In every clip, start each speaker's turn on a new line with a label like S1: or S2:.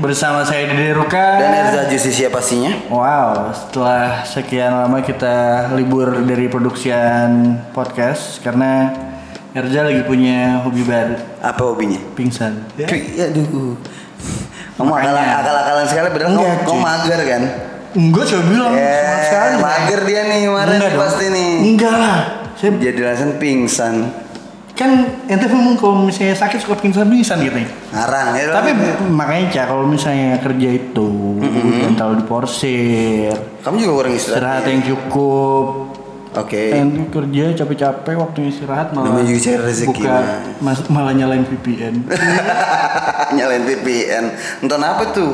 S1: Bersama saya Dede Ruka.
S2: Dan Erza Jusisia pastinya.
S1: Wow, setelah sekian lama kita libur dari produksian podcast karena Erza lagi punya hobi baru,
S2: Apa hobinya? ya,
S1: pingsan.
S2: Cuy, aduh. Kamu
S1: Ya. Makanya.
S2: akal- akal-akalan sekali beneran kamu,
S1: Enggak,
S2: kamu
S1: cuy.
S2: mager kan?
S1: Enggak, saya bilang sama sekali. ya.
S2: Eh, mager dia nih kemarin
S1: Enggak
S2: nih
S1: dong.
S2: pasti nih. Ya.
S1: Enggak lah. Saya
S2: Jadi langsung pingsan.
S1: kan ente ngomong kalau misalnya sakit suka pingsan-pingsan gitu ya.
S2: Ngarang ya. dong.
S1: Tapi makanya Cak, kalau misalnya kerja itu jangan terlalu diporsir.
S2: kamu juga kurang istirahat.
S1: Istirahat ya. yang cukup.
S2: Oke.
S1: Nanti kerja capek-capek waktu istirahat malah
S2: Iya. Namanya juga cari rezeki, nah.
S1: buka
S2: mah.
S1: mas- malah nyalain VPN.
S2: Nyalain VPN. Nonton apa tuh?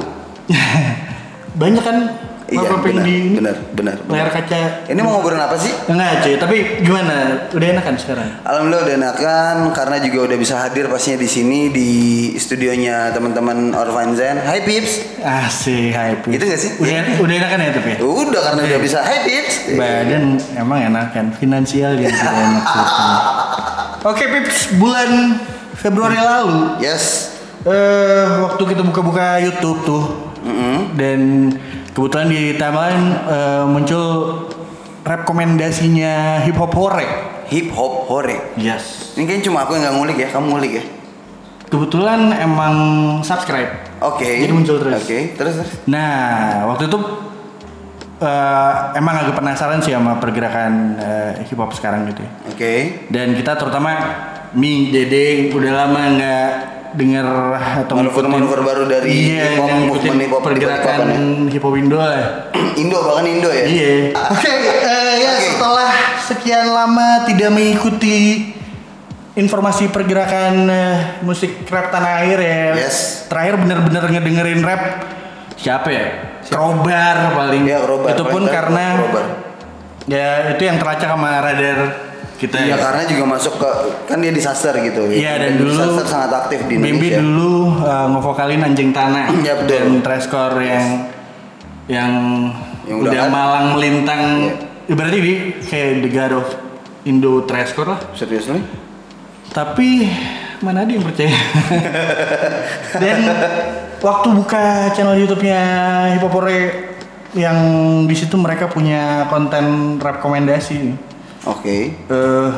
S1: Banyak kan
S2: Iya,
S1: apa yang
S2: benar,
S1: di ini,
S2: benar, benar, benar.
S1: layar kaca.
S2: Ini mau ngobrolin apa sih?
S1: Enggak cuy, tapi gimana? Udah enak kan sekarang?
S2: Alhamdulillah udah enakan karena juga udah bisa hadir pastinya di sini di studionya teman-teman Orphan Zen. Hai Pips.
S1: Asih, hype.
S2: Gitu nggak sih?
S1: Udah, udah enak kan ya tapi? ya?
S2: Udah karena udah bisa. Hai Pips.
S1: Badan emang enak kan, finansial yang tidak enak. sebetulnya. Oke Pips, bulan Februari lalu
S2: Yes.
S1: Eh, waktu kita buka-buka YouTube tuh, dan kebetulan di timeline eh, muncul rekomendasinya hip hop hore.
S2: Hip hop hore.
S1: Yes.
S2: Ini kayaknya cuma aku yang nggak ngulik ya. Kamu ngulik ya.
S1: Kebetulan emang subscribe.
S2: Oke.
S1: Jadi muncul terus.
S2: Oke. Terus terus.
S1: Nah, waktu itu eh, emang agak penasaran sih sama pergerakan eh, hip hop sekarang gitu. ya.
S2: Oke.
S1: Dan kita terutama Mi, Dede udah lama nggak denger atau
S2: Manuver- manuver baru dari
S1: iya,
S2: hip-hop,
S1: yang
S2: movement
S1: ngikutin
S2: hip-hop,
S1: pergerakan
S2: hip-hop-an
S1: hip hop Indo lah.
S2: Indo bahkan Indo ya.
S1: Iya. Oke, eh, ya
S2: Oke.
S1: setelah sekian lama tidak mengikuti informasi pergerakan eh, musik rap tanah air ya.
S2: Yes.
S1: Terakhir benar-benar ngedengerin rap siapa ya? Krobar paling.
S2: Iya, Krobar.
S1: Itu pun
S2: Paling terakhir
S1: karena
S2: Krobar.
S1: ya itu yang terlacak sama radar kita. ya.
S2: Iya karena juga masuk ke kan dia disaster gitu.
S1: Iya dan dulu
S2: disaster sangat aktif di
S1: Bimbi
S2: Indonesia.
S1: dulu uh, ngevokalin anjing tanah
S2: Iya, betul.
S1: dan Treskor yang yang
S2: Yang
S1: udah
S2: udah ada. Iya.
S1: malang melintang berarti di kayak the god of Indo Treskor lah.
S2: Serius nih?
S1: Tapi mana ada yang percaya. dan waktu buka channel YouTube-nya Hipopore yang di situ mereka punya konten rekomendasi.
S2: Oke.
S1: Eh,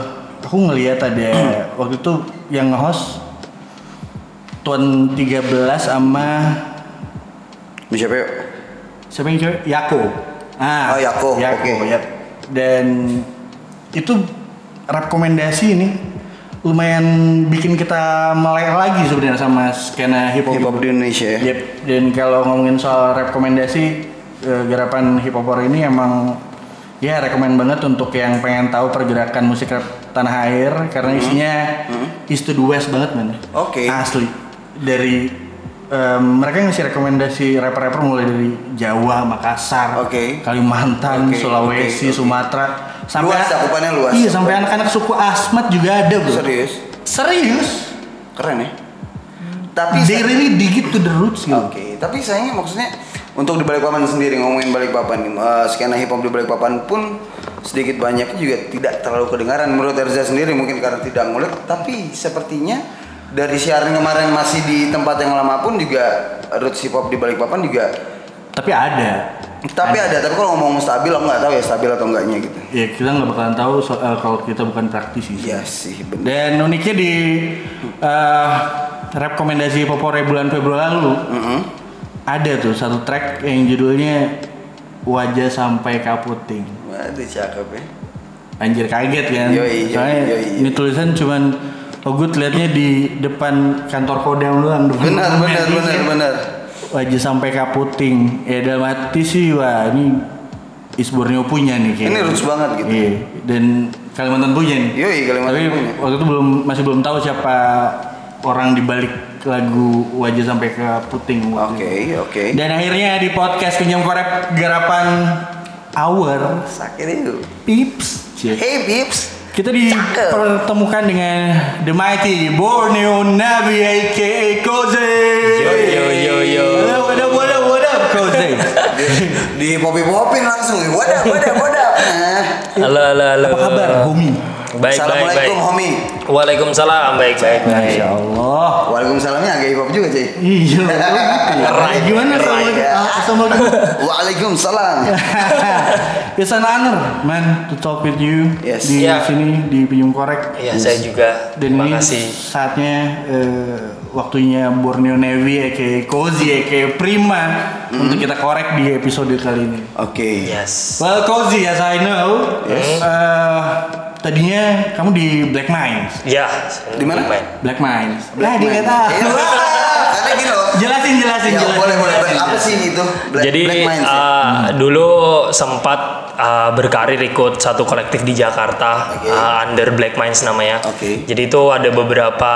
S1: aku ngelihat ada waktu itu yang nge-host Tuan 13 sama
S2: Bisa Peo.
S1: siapa yang cewek? Yako. Ah,
S2: Oh, Yako. Oke.
S1: yap. Dan itu rekomendasi ini lumayan bikin kita melek lagi sebenarnya sama skena hip hop.
S2: Hip hop di Indonesia ya.
S1: Yep. Dan kalau ngomongin soal rekomendasi eh, garapan hip hop ini emang ya rekomend banget untuk yang pengen tahu pergerakan musik rap tanah air karena isinya east to the west banget man.
S2: Hmm. Oke.
S1: Asli. Dari em, mereka ngasih rekomendasi rapper-rapper mulai dari Jawa, Makassar,
S2: Oke.
S1: Kalimantan,
S2: Oke,
S1: Sulawesi,
S2: oke, oke.
S1: Sumatera,
S2: Luas, cakupannya luas.
S1: Iya, sampai anak-anak suku Asmat juga ada, Bro.
S2: Serius.
S1: Serius?
S2: Keren ya. Tapi
S1: They really dig it to the roots gitu.
S2: Oke, tapi sayangnya maksudnya untuk di Balikpapan sendiri ngomongin Balikpapan, eh, skena hip hop di Balikpapan pun sedikit banyaknya juga tidak terlalu kedengaran menurut Erza sendiri mungkin karena tidak ngulik, tapi sepertinya dari siaran kemarin masih di tempat yang lama pun juga roots hip hop di Balikpapan juga
S1: Tapi ada.
S2: tapi ada, tapi kalau ngomong stabil aku nggak tahu ya stabil atau enggaknya gitu.
S1: Ya kita nggak bakalan tahu soal kalau kita bukan praktisi.
S2: Iya sih bener.
S1: Dan uniknya di eh, rekomendasi Popore bulan Februari lalu
S2: Mm-mm.
S1: ada tuh satu track yang judulnya Wajah Sampai Kaputing.
S2: Waduh cakep ya.
S1: Anjir kaget kan?
S2: Yoi, yoi,
S1: Soalnya
S2: yoi, yoi.
S1: ini tulisan cuman oh gue liatnya di depan kantor kodam doang. depan
S2: Benar,
S1: konmen.
S2: benar,
S1: Iya.
S2: benar, benar.
S1: Wajah Sampai Kaputing. Ya dalam hati sih wah ini Is Borneo punya nih kayaknya.
S2: Ini roots banget gitu.
S1: Iya, dan Kalimantan punya nih.
S2: Yoi, Kalimantan
S1: Tapi
S3: ya?
S2: punya.
S1: waktu itu belum masih belum tahu siapa orang di balik lagu Wajah Sampai ke Puting. waktu
S2: Oke,
S1: itu.
S2: oke.
S1: Dan akhirnya di podcast Pinjam Korep Garapan Hour
S2: Sakit itu.
S1: Pips. Cie.
S2: Hey Bips.
S1: Kita dipertemukan dengan The Mighty Borneo Navi aka Koze.
S3: Yo, yo, yo, yo.
S1: What up, what up, what up, Koze.
S2: di popi popin langsung wadah wadah wadah nah.
S3: Halo, halo, halo.
S1: Apa kabar, homie?
S3: Baik, baik, baik.
S2: Assalamualaikum homie.
S3: Waalaikumsalam. Baik, baik, baik.
S1: Masya Allah.
S2: Waalaikumsalamnya agak hip hop juga cuy.
S1: Iya, lu gitu ya.
S3: Rai,
S1: Gimana
S3: rai,
S1: assalamualaikum?
S2: ya.
S1: Ah, Assalamualaikum.
S2: Waalaikumsalam.
S3: Ya.
S1: It's an honor, man, to talk with you
S2: Yes.
S1: di
S3: Yeah.
S1: sini di Binjung Korek.
S3: Iya, saya juga.
S1: Dan
S3: Terima
S1: ini
S3: kasih.
S1: saatnya eh, waktunya Borneo Navy aka Cozy aka Prima
S2: Mm-hmm.
S1: untuk kita korek di episode kali ini.
S2: Oke.
S3: Yes.
S1: Well Cozy as I know,
S2: Yes.
S1: eh, tadinya kamu di Black Mines.
S3: Ya.
S2: Di mana?
S1: Black Mines. Lah
S2: Black
S1: dia
S2: Man.
S1: nggak tahu.
S2: Iya, Karena gini loh.
S1: jelasin jelasin
S2: Ya,
S1: jelasin.
S2: boleh boleh.
S1: jelasin,
S2: Black- Apa
S1: jelasin.
S2: sih itu? Black,
S3: Jadi
S2: Black Minds, ya?
S3: uh, dulu sempat uh, berkarir ikut satu kolektif di Jakarta
S2: Oke.
S3: uh, under Black Minds namanya.
S2: Oke.
S3: Jadi itu ada beberapa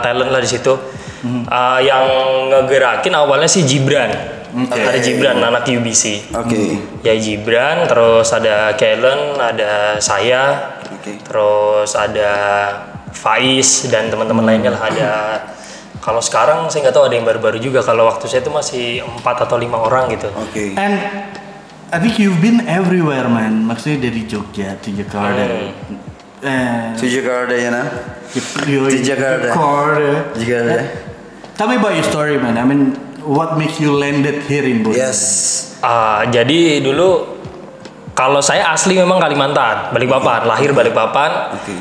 S3: talent lah di situ.
S2: Mhm.
S3: Uh, yang ngegerakin awalnya sih Jibran.
S2: Oke.
S3: Ada Jibran anak UBC.
S2: Oke.
S3: Ya Jibran, terus ada Kellen, ada saya,
S2: Oke.
S3: terus ada Faiz dan teman-teman lainnya lah ada kalau sekarang saya nggak tahu ada yang baru-baru juga kalau waktu saya itu masih empat atau lima orang gitu
S2: Oke.
S1: And I think you've been everywhere man. Maksudnya dari Jogja to Jakarta.
S3: Hmm.
S1: Eh,
S2: To Jakarta ya nah.
S1: Yo-
S2: To Jakarta.
S1: Jakarta.
S2: Jakarta.
S1: Tell me about your story, man. I mean, what makes you landed here in Bosnia?
S2: Yes.
S3: Ah, jadi dulu kalau saya asli memang Kalimantan Balikpapan lahir Balikpapan
S2: Oke.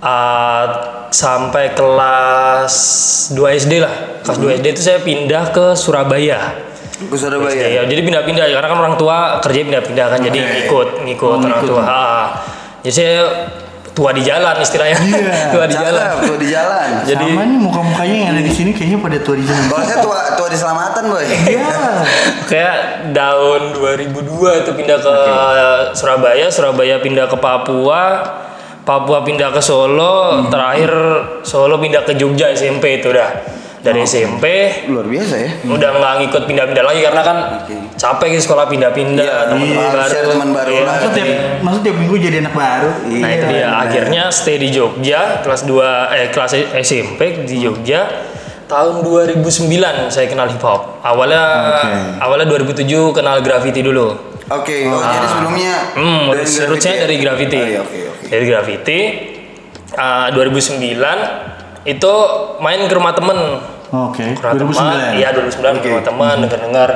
S3: Ah, sampai kelas 2 SD lah kelas 2 SD itu saya pindah ke Surabaya
S2: Ke Surabaya.
S3: Iya, jadi pindah-pindah karena kan orang tua kerja pindah-pindah kan, jadi
S2: Oh, Oke.
S3: ngikut ngikut
S1: Oh,
S3: orang
S1: ngikut.
S3: tua. Ha. Jadi saya tua di jalan istilahnya,
S1: Iya.
S3: tua di jalan.
S2: Cakep, Tua di jalan.
S3: Jadi
S1: Sama nih muka-mukanya yang ada di sini kayaknya pada tua di sana.
S2: Kalau saya tua tua di selamatan boy.
S1: Iya.
S3: kayak tahun 2002 itu pindah ke Surabaya, Surabaya pindah ke Papua, Papua pindah ke Solo, terakhir Solo pindah ke Jogja SMP itu udah dari SMP.
S2: Luar biasa ya.
S3: udah nggak ngikut pindah-pindah lagi karena kan
S2: Oke.
S3: capek gitu sekolah pindah-pindah
S2: Iya,
S3: teman
S2: iya, harusnya teman baru
S3: Iya,
S2: lah.
S1: Maksud tiap, maksud tiap minggu jadi anak baru.
S2: Iya.
S3: Nah itu dia akhirnya stay di Jogja kelas 2 eh kelas SMP di Jogja tahun 2009 saya kenal hip hop. Awalnya awalnya 2007 kenal graffiti dulu.
S2: Oke. Oh, jadi sebelumnya.
S3: Ah. Hmm,
S2: dari
S3: roots- rootsnya
S2: graffiti ya?
S3: dari
S2: Oh,
S3: graffiti.
S2: iya, Oke oke.
S3: Dari graffiti ah, 2009 itu main ke rumah temen
S1: Oke.
S3: Ke rumah teman,
S1: 2009.
S3: iya 2009 ke
S2: Oke.
S3: rumah teman dengar-dengar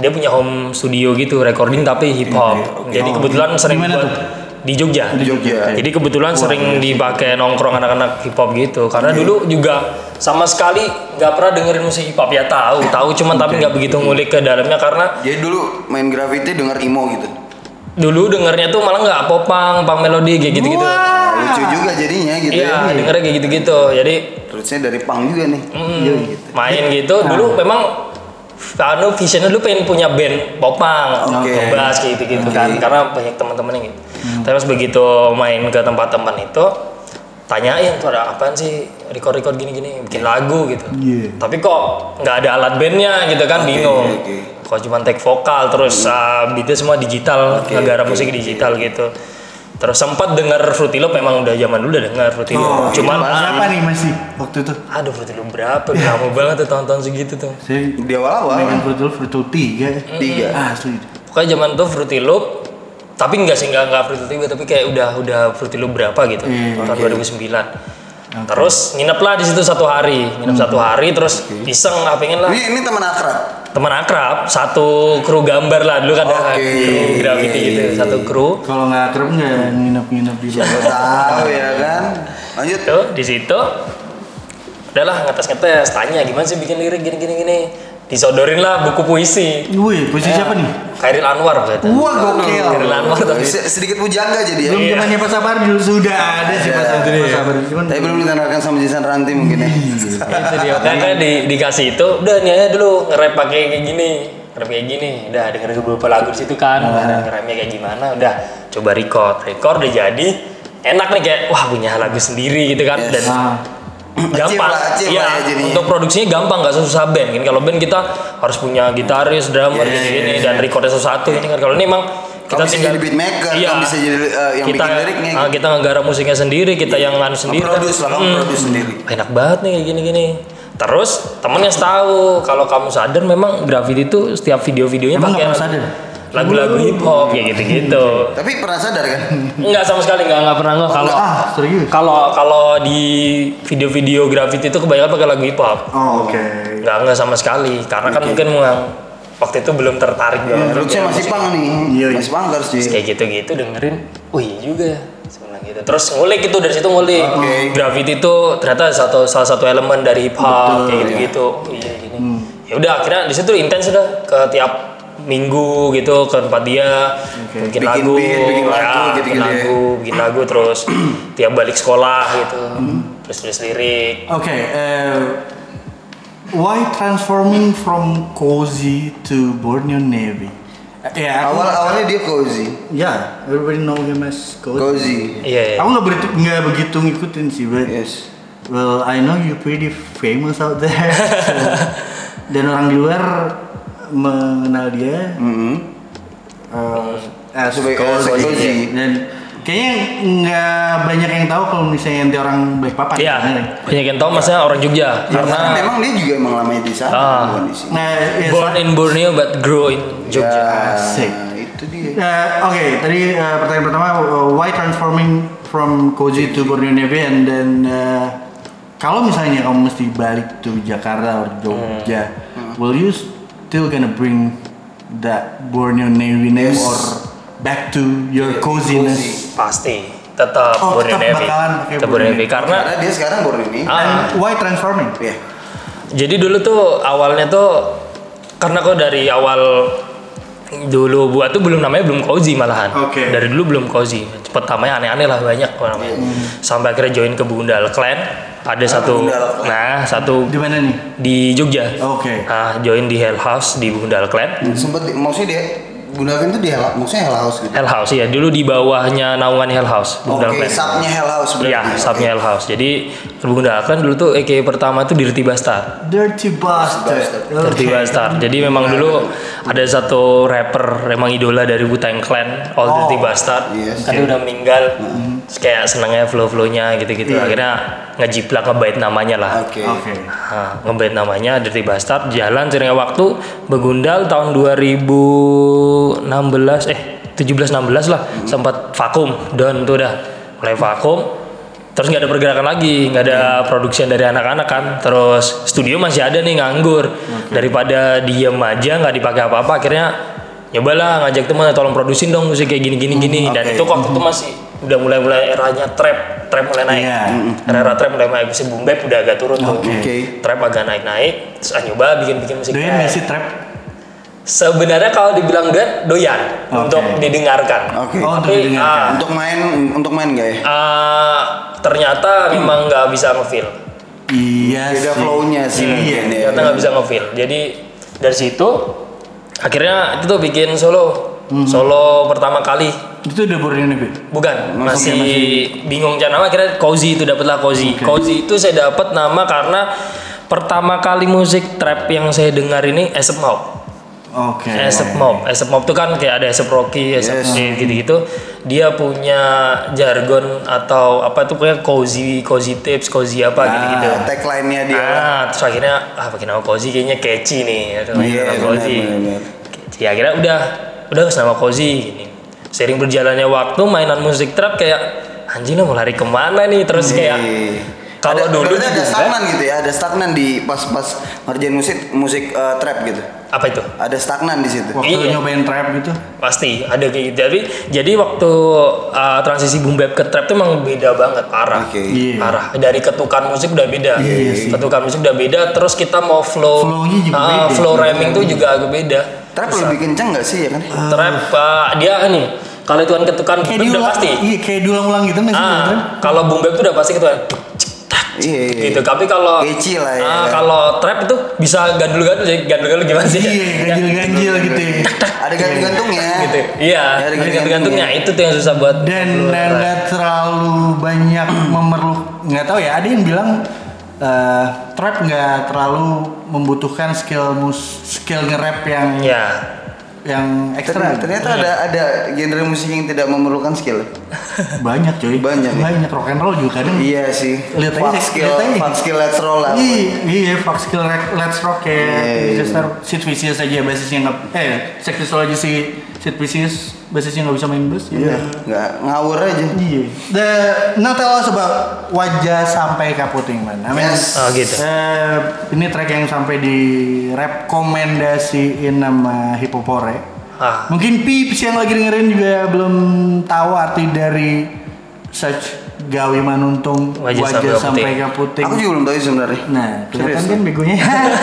S3: dia punya home studio gitu recording tapi hip hop. Jadi
S1: Oh,
S3: kebetulan
S1: di-
S3: sering
S1: di mana
S3: buat
S1: tuh?
S3: di Jogja.
S2: Di Jogja.
S1: Oke.
S3: Jadi kebetulan sering dipakai nongkrong anak-anak hip hop gitu. Karena dulu juga sama sekali nggak pernah dengerin musik hip hop ya tahu, tahu cuman tapi nggak begitu ngulik ke dalamnya karena
S2: Jadi dulu main graffiti dengar emo gitu.
S3: dulu dengernya tuh malah nggak popang, pang melodi kayak gitu-gitu.
S2: Nah, lucu juga jadinya gitu
S3: Iya,
S2: ya.
S3: dengernya kayak gitu-gitu. Jadi
S2: Rootsnya dari pang juga nih.
S3: mm, main gitu
S2: Nah.
S3: dulu memang anu visionnya dulu pengen punya band popang,
S2: Oke.
S3: ngebas kayak gitu-gitu kan
S2: Oke. Hmm.
S3: karena banyak teman-teman yang gitu. Tapi pas begitu main ke tempat teman itu tanyain tuh ada apaan sih record-record gini-gini bikin lagu gitu.
S1: Iya.
S3: Tapi kok nggak ada alat bandnya gitu kan bingung.
S2: oke. Hmm.
S3: Kok cuma take vokal terus uh, beatnya semua digital,
S2: Oke,
S3: negara
S2: oke,
S3: musik digital gitu. Terus sempat denger Fruity Loop memang udah zaman dulu udah denger Fruity Loop.
S2: Oh,
S3: Cuman
S2: iya,
S3: ah,
S1: Berapa nih masih waktu itu?
S3: Aduh Fruity Loop berapa? Udah Lama banget tuh tahun-tahun segitu tuh.
S1: Saya
S2: Di awal-awal.
S1: megang Fruit Loop Fruit Loop 3.
S2: Tiga.
S1: Asli.
S3: Pokoknya zaman tuh Fruity Loop tapi nggak sih nggak nggak Fruity Loop tapi kayak udah udah Fruity Loop berapa gitu
S1: Hmm,
S3: tahun 2009. Terus nginep lah di situ satu hari, nginep satu
S1: Hmm,
S3: hari terus iseng ah pengen lah
S2: Ini ini teman akrab.
S3: teman akrab satu kru gambar lah dulu kan
S2: Oke.
S3: ada kru graffiti
S1: Iya,
S3: gitu satu kru
S1: Kalau nggak akrab nggak nginep-nginep di luar.
S2: Tahu ya kan. Lanjut.
S3: itu di situ udahlah ngetes ngetes tanya gimana sih bikin lirik gini gini gini disodorin lah buku puisi
S1: Wih, posisi siapa
S2: Iya.
S1: nih?
S3: Khairil Anwar kata
S1: Wah, gokil.
S3: Khairil Anwar tapi Iya,
S2: Se- Sedikit pujangga jadi ya. Iya.
S1: Belum zamannya Pak Sabar dulu sudah ada sih Pak Sabar. Pak Sabar. Cuman
S2: Tapi belum ditandarkan sama Jason Ranti mungkin
S3: Iya.
S2: ya.
S3: itu dia makanya
S2: Iya.
S3: di, dikasih itu udah niatnya dulu ngerap pakai kayak gini ngerap kayak gini udah dengerin beberapa lagu di situ kan
S2: Iya.
S3: ngerapnya kayak gimana udah coba record record udah jadi enak nih kayak wah punya lagu sendiri gitu kan
S2: Yes.
S3: dan
S1: Ah.
S3: gampang
S2: lah, achieve
S3: Iya,
S2: lah ya jadinya.
S3: untuk produksinya gampang nggak susah band kan kalau band kita harus punya gitaris drummer
S2: Yes.
S3: gini-gini dan recordnya satu-satu ini kan kalau ini emang kita
S2: iya, Kamu bisa
S3: tinggal-
S2: jadi beatmaker,
S3: Iya.
S2: kamu bisa jadi eh, yang
S3: kita,
S2: bikin liriknya.
S3: ah, kita ngegarap musiknya sendiri kita yang nganu sendiri kan.
S2: Produce lah, kamu
S3: Hmm
S2: produce sendiri.
S3: enak banget nih kayak gini-gini. Terus temennya tahu kalau kamu sadar memang graffiti itu setiap video-videonya
S1: Emang
S3: pakai
S1: nggak pernah sadar?
S3: lagu-lagu hip hop kayak gitu-gitu.
S2: Tapi pernah sadar kan?
S3: Enggak sama sekali enggak enggak pernah enggak kalau
S1: Ah, serius.
S3: kalau kalau di video-video graffiti itu kebanyakan pakai lagu hip hop.
S1: Oh, oke.
S3: Enggak enggak sama sekali karena kan mungkin memang waktu itu belum tertarik banget.
S2: Rootsnya masih pang nih.
S1: Iya, iya.
S2: Masih pangkers sih.
S3: Terus kayak gitu-gitu dengerin,
S2: Oh, iya
S3: wih juga ya sebenarnya gitu. Terus ngulik itu dari situ ngulik.
S2: Oke.
S3: Graffiti itu ternyata satu salah satu elemen dari hip hop kayak gitu-gitu. Oh, Iya gini.
S2: Hmm.
S3: Ya udah akhirnya di situ intens udah ke tiap minggu gitu ke tempat dia bikin,
S2: Bikin
S3: lagu,
S2: beat, bikin lagu,
S3: ya,
S2: gitu-gitu
S3: bikin
S2: ya.
S3: lagu, bikin lagu terus tiap balik sekolah gitu.
S2: Hmm.
S3: Terus tulis lirik.
S1: Oke, eh, why transforming from cozy to Borneo Navy? Ya, aku-
S2: Awal awalnya dia cozy.
S1: Ya, everybody know him as cozy.
S2: Cozy. Iya.
S3: Iya. iya.
S1: Aku nggak begitu nggak begitu ngikutin sih, but
S2: Yes.
S1: well I know you pretty famous out there. So, dan orang di luar mengenal dia
S2: Mhm.
S1: uh, as
S2: Sebagai- as
S1: cozy.
S2: cozy.
S1: Dan kayaknya nggak banyak yang tahu kalau misalnya nanti orang Balikpapan. kan?
S3: Iya.
S1: bener.
S3: Banyak yang tahu maksudnya orang Jogja
S2: Ya, karena
S3: karena
S2: memang dia juga emang lamanya di sana
S3: Ah.
S2: bukan di sini.
S1: Nah, ya,
S3: born in Borneo but grow in Jogja.
S2: Ya,
S1: Asik.
S2: itu dia.
S1: Uh, Oke, tadi uh, pertanyaan pertama, uh, why transforming from Koji to Borneo Navy and then uh, kalau misalnya kamu mesti balik to Jakarta or Jogja, will you still gonna bring that Borneo Navy name
S2: Yes.
S1: or back to your coziness?
S3: pasti tetap
S1: Oh,
S3: Borneo
S1: tetap
S3: Navy.
S1: bakalan pakai
S3: Tetap
S1: Borneo
S3: Borneo Navy karena
S2: Karena dia sekarang baru ini.
S3: Ah.
S1: And Uh, why transforming?
S2: Ya.
S3: jadi dulu tuh awalnya tuh karena kok dari awal dulu buat tuh belum namanya belum cozy malahan.
S1: Oke.
S3: Dari dulu belum cozy. Pertamanya aneh-aneh lah banyak kok namanya.
S1: Hmm.
S3: Sampai akhirnya join ke Bundal Clan ada
S1: Ah,
S3: satu
S2: Bundal Clan.
S3: nah satu
S1: Di mana nih?
S3: di Jogja.
S1: Oke.
S3: Nah, join di Hell House di Bundal Clan.
S2: Sempet di- maksudnya dia Bunda kan tuh di Hell, maksudnya Hell House gitu.
S3: Hell House ya, dulu di bawahnya naungan Hell House
S2: Oke,
S3: Bundal Clan.
S2: subnya Hell House berarti.
S3: Iya, subnya Hell House. Jadi Bundal Clan dulu tuh EK pertama tuh Dirty Bastard.
S1: Dirty Bastard.
S2: Bastard.
S3: Dirty
S1: Oke.
S3: Bastard. Jadi memang dulu ada satu rapper memang idola dari Wu-Tang Clan, All
S1: Oh,
S3: Dirty Bastard.
S2: yes.
S3: Tapi udah meninggal. Terus Kayak senengnya flow-flownya gitu-gitu.
S1: Iya.
S3: Akhirnya ngejiplak ngebait namanya lah.
S2: Oke.
S1: Oke.
S3: Nah, ngebait namanya Dirty Bastard jalan seringnya waktu begundal tahun 2016 eh 17 16 lah sempat vakum down tuh dah mulai vakum terus nggak ada pergerakan lagi nggak ada produksi dari anak-anak kan terus studio masih ada nih nganggur daripada diem aja nggak dipakai apa-apa akhirnya nyobalah ngajak teman tolong produksi dong musik kayak gini gini gini dan
S2: oke.
S3: itu waktu itu masih udah mulai mulai eranya trap trap mulai naik
S1: Iya.
S3: era trap mulai naik si boom bap udah agak turun tuh
S2: Oke.
S3: trap agak naik-naik terus ah, nyoba bikin-bikin musik
S1: Doyan
S3: trap.
S1: nggak sih trap?
S3: sebenarnya kalau dibilang doyan doyan
S1: Oke.
S3: untuk didengarkan
S2: Oke.
S1: Oh, untuk
S3: Tapi,
S1: didengarkan.
S3: ah.
S2: Untuk main untuk main gak ya?
S3: Ah, ternyata memang nggak bisa ngefeel
S1: Iya sih.
S2: Beda flow-nya sih mungkin ya.
S3: Iya. ternyata nggak bisa ngefeel jadi dari situ akhirnya itu tuh bikin solo
S1: Mhm.
S3: solo pertama kali
S1: Itu udah Borneo Navy?
S3: bukan
S2: Masih-
S3: masih, bingung cara nama akhirnya cozy itu dapatlah cozy cozy itu saya dapat nama karena pertama kali musik trap yang saya dengar ini Asap Mob
S1: Oke.
S3: Asap Eh, Mob. Asap Mob tuh kan kayak ada Asap Rocky,
S2: Oh.
S3: Asap
S2: Yes.
S3: Jay, gitu-gitu. Dia punya jargon atau apa tuh kayak cozy, cozy tips, cozy apa gitu-gitu.
S2: Nah, tagline-nya dia. lah.
S3: gitu. Ah, terus akhirnya ah pakai nama cozy kayaknya catchy nih. Aduh,
S2: Iya,
S3: nama
S2: benar,
S3: cozy.
S2: benar.
S3: Catchy. Akhirnya udah udah kasih nama cozy gini. Sering berjalannya waktu mainan musik trap kayak anjing lah mau lari kemana nih terus kayak
S2: Iya.
S3: kalau
S2: Ada-
S3: dulu
S2: berarti ada
S3: juga-
S2: stagnan gitu ya, ada stagnan di pas-pas ngerjain musik musik eh, trap gitu.
S3: apa itu
S2: Ada stagnan di situ.
S1: Waktu
S3: Iya.
S1: nyobain trap gitu?
S3: pasti ada kayak gitu jadi jadi waktu uh, transisi boom bap ke trap tuh emang beda banget parah
S2: Oke.
S1: Iya.
S3: parah dari ketukan musik udah beda ketukan musik udah beda terus kita mau flow
S1: Flow-nya juga
S3: Ah,
S1: beda.
S3: flow rhyming tuh juga agak beda
S2: Trap lebih kenceng gak sih ya kan?
S3: trap uh, dia nih kalau itu kan ketukan
S1: Ah. kayak
S3: beat udah
S1: diulang
S3: pasti
S1: iya kayak diulang-ulang gitu nggak sih
S3: Ah,
S1: beneran?
S3: kalau boom bap tuh udah pasti ketukan
S2: Iya. iya.
S3: gitu tapi kalau
S2: Catchy lah ya.
S3: ah, kalau trap itu bisa gandul-gandul jadi gandul-gandul gimana sih
S1: iya ganjil-ganjil gitu ya
S2: Ada gantung-gantungnya. Ada
S3: gitu iya ada
S2: gantung-gantungnya.
S3: gantung-gantungnya itu tuh yang susah buat
S1: dan eh, nggak terlalu banyak memerlukan nggak tahu ya ada yang bilang eh, trap nggak terlalu membutuhkan skill mus skill nge-rap yang
S3: ya
S1: yang ekstra
S2: Ternyata, ternyata ada ada genre musik yang tidak memerlukan skill.
S1: banyak cuy
S2: Banyak.
S1: banyak rock and roll juga kadang
S2: Iya sih.
S1: Hmm. Lihat aja
S2: Fuck
S1: sih,
S2: skill,
S1: lihat aja.
S2: fuck skill let's roll lah.
S1: Iya, iya, Fox Kill Re- Let's Rock ya.
S2: Iya,
S1: Manchester Sid Vicious aja basisnya nggak eh Sex Pistols aja si Sid Vicious basisnya nggak bisa main bass. ya
S2: Iya. Nggak ngawur aja.
S1: Iya. The now tell us about wajah sampai kaputing man. I mean,
S2: Yes.
S3: Oh gitu.
S1: eh, ini track yang sampai direkomendasiin nama Hipopore.
S3: Ah.
S1: Mungkin Pips yang lagi dengerin juga belum tahu arti dari search Gawi Manuntung
S3: Wajah
S1: wajah,
S3: Sampai
S1: sampai
S3: Kaputing.
S1: kaputing.
S2: Aku juga belum tahu sebenarnya.
S1: Nah, kelihatan
S2: Serius.
S1: kan begonya.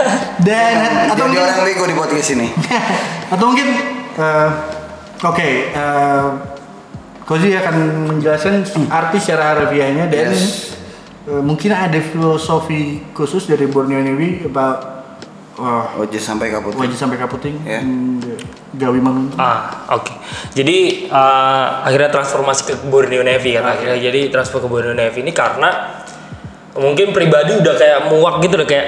S1: Dan atau
S2: Jadi
S1: mungkin,
S2: orang bego di podcast ini.
S1: atau mungkin eh, oke, eh, Kozi akan menjelaskan arti secara harfiahnya dan
S2: Hmm. Yes.
S1: eh, mungkin ada filosofi khusus dari Borneo Newi about eh,
S2: Ojo Oh, sampai kaput.
S1: wajah sampai kaputing,
S2: Ya.
S1: hmm, gawi manuntung.
S3: Ah, oke. Jadi eh, akhirnya transformasi ke Borneo Navy kan akhirnya jadi transfer ke Borneo Navy ini karena mungkin pribadi udah kayak muak gitu udah kayak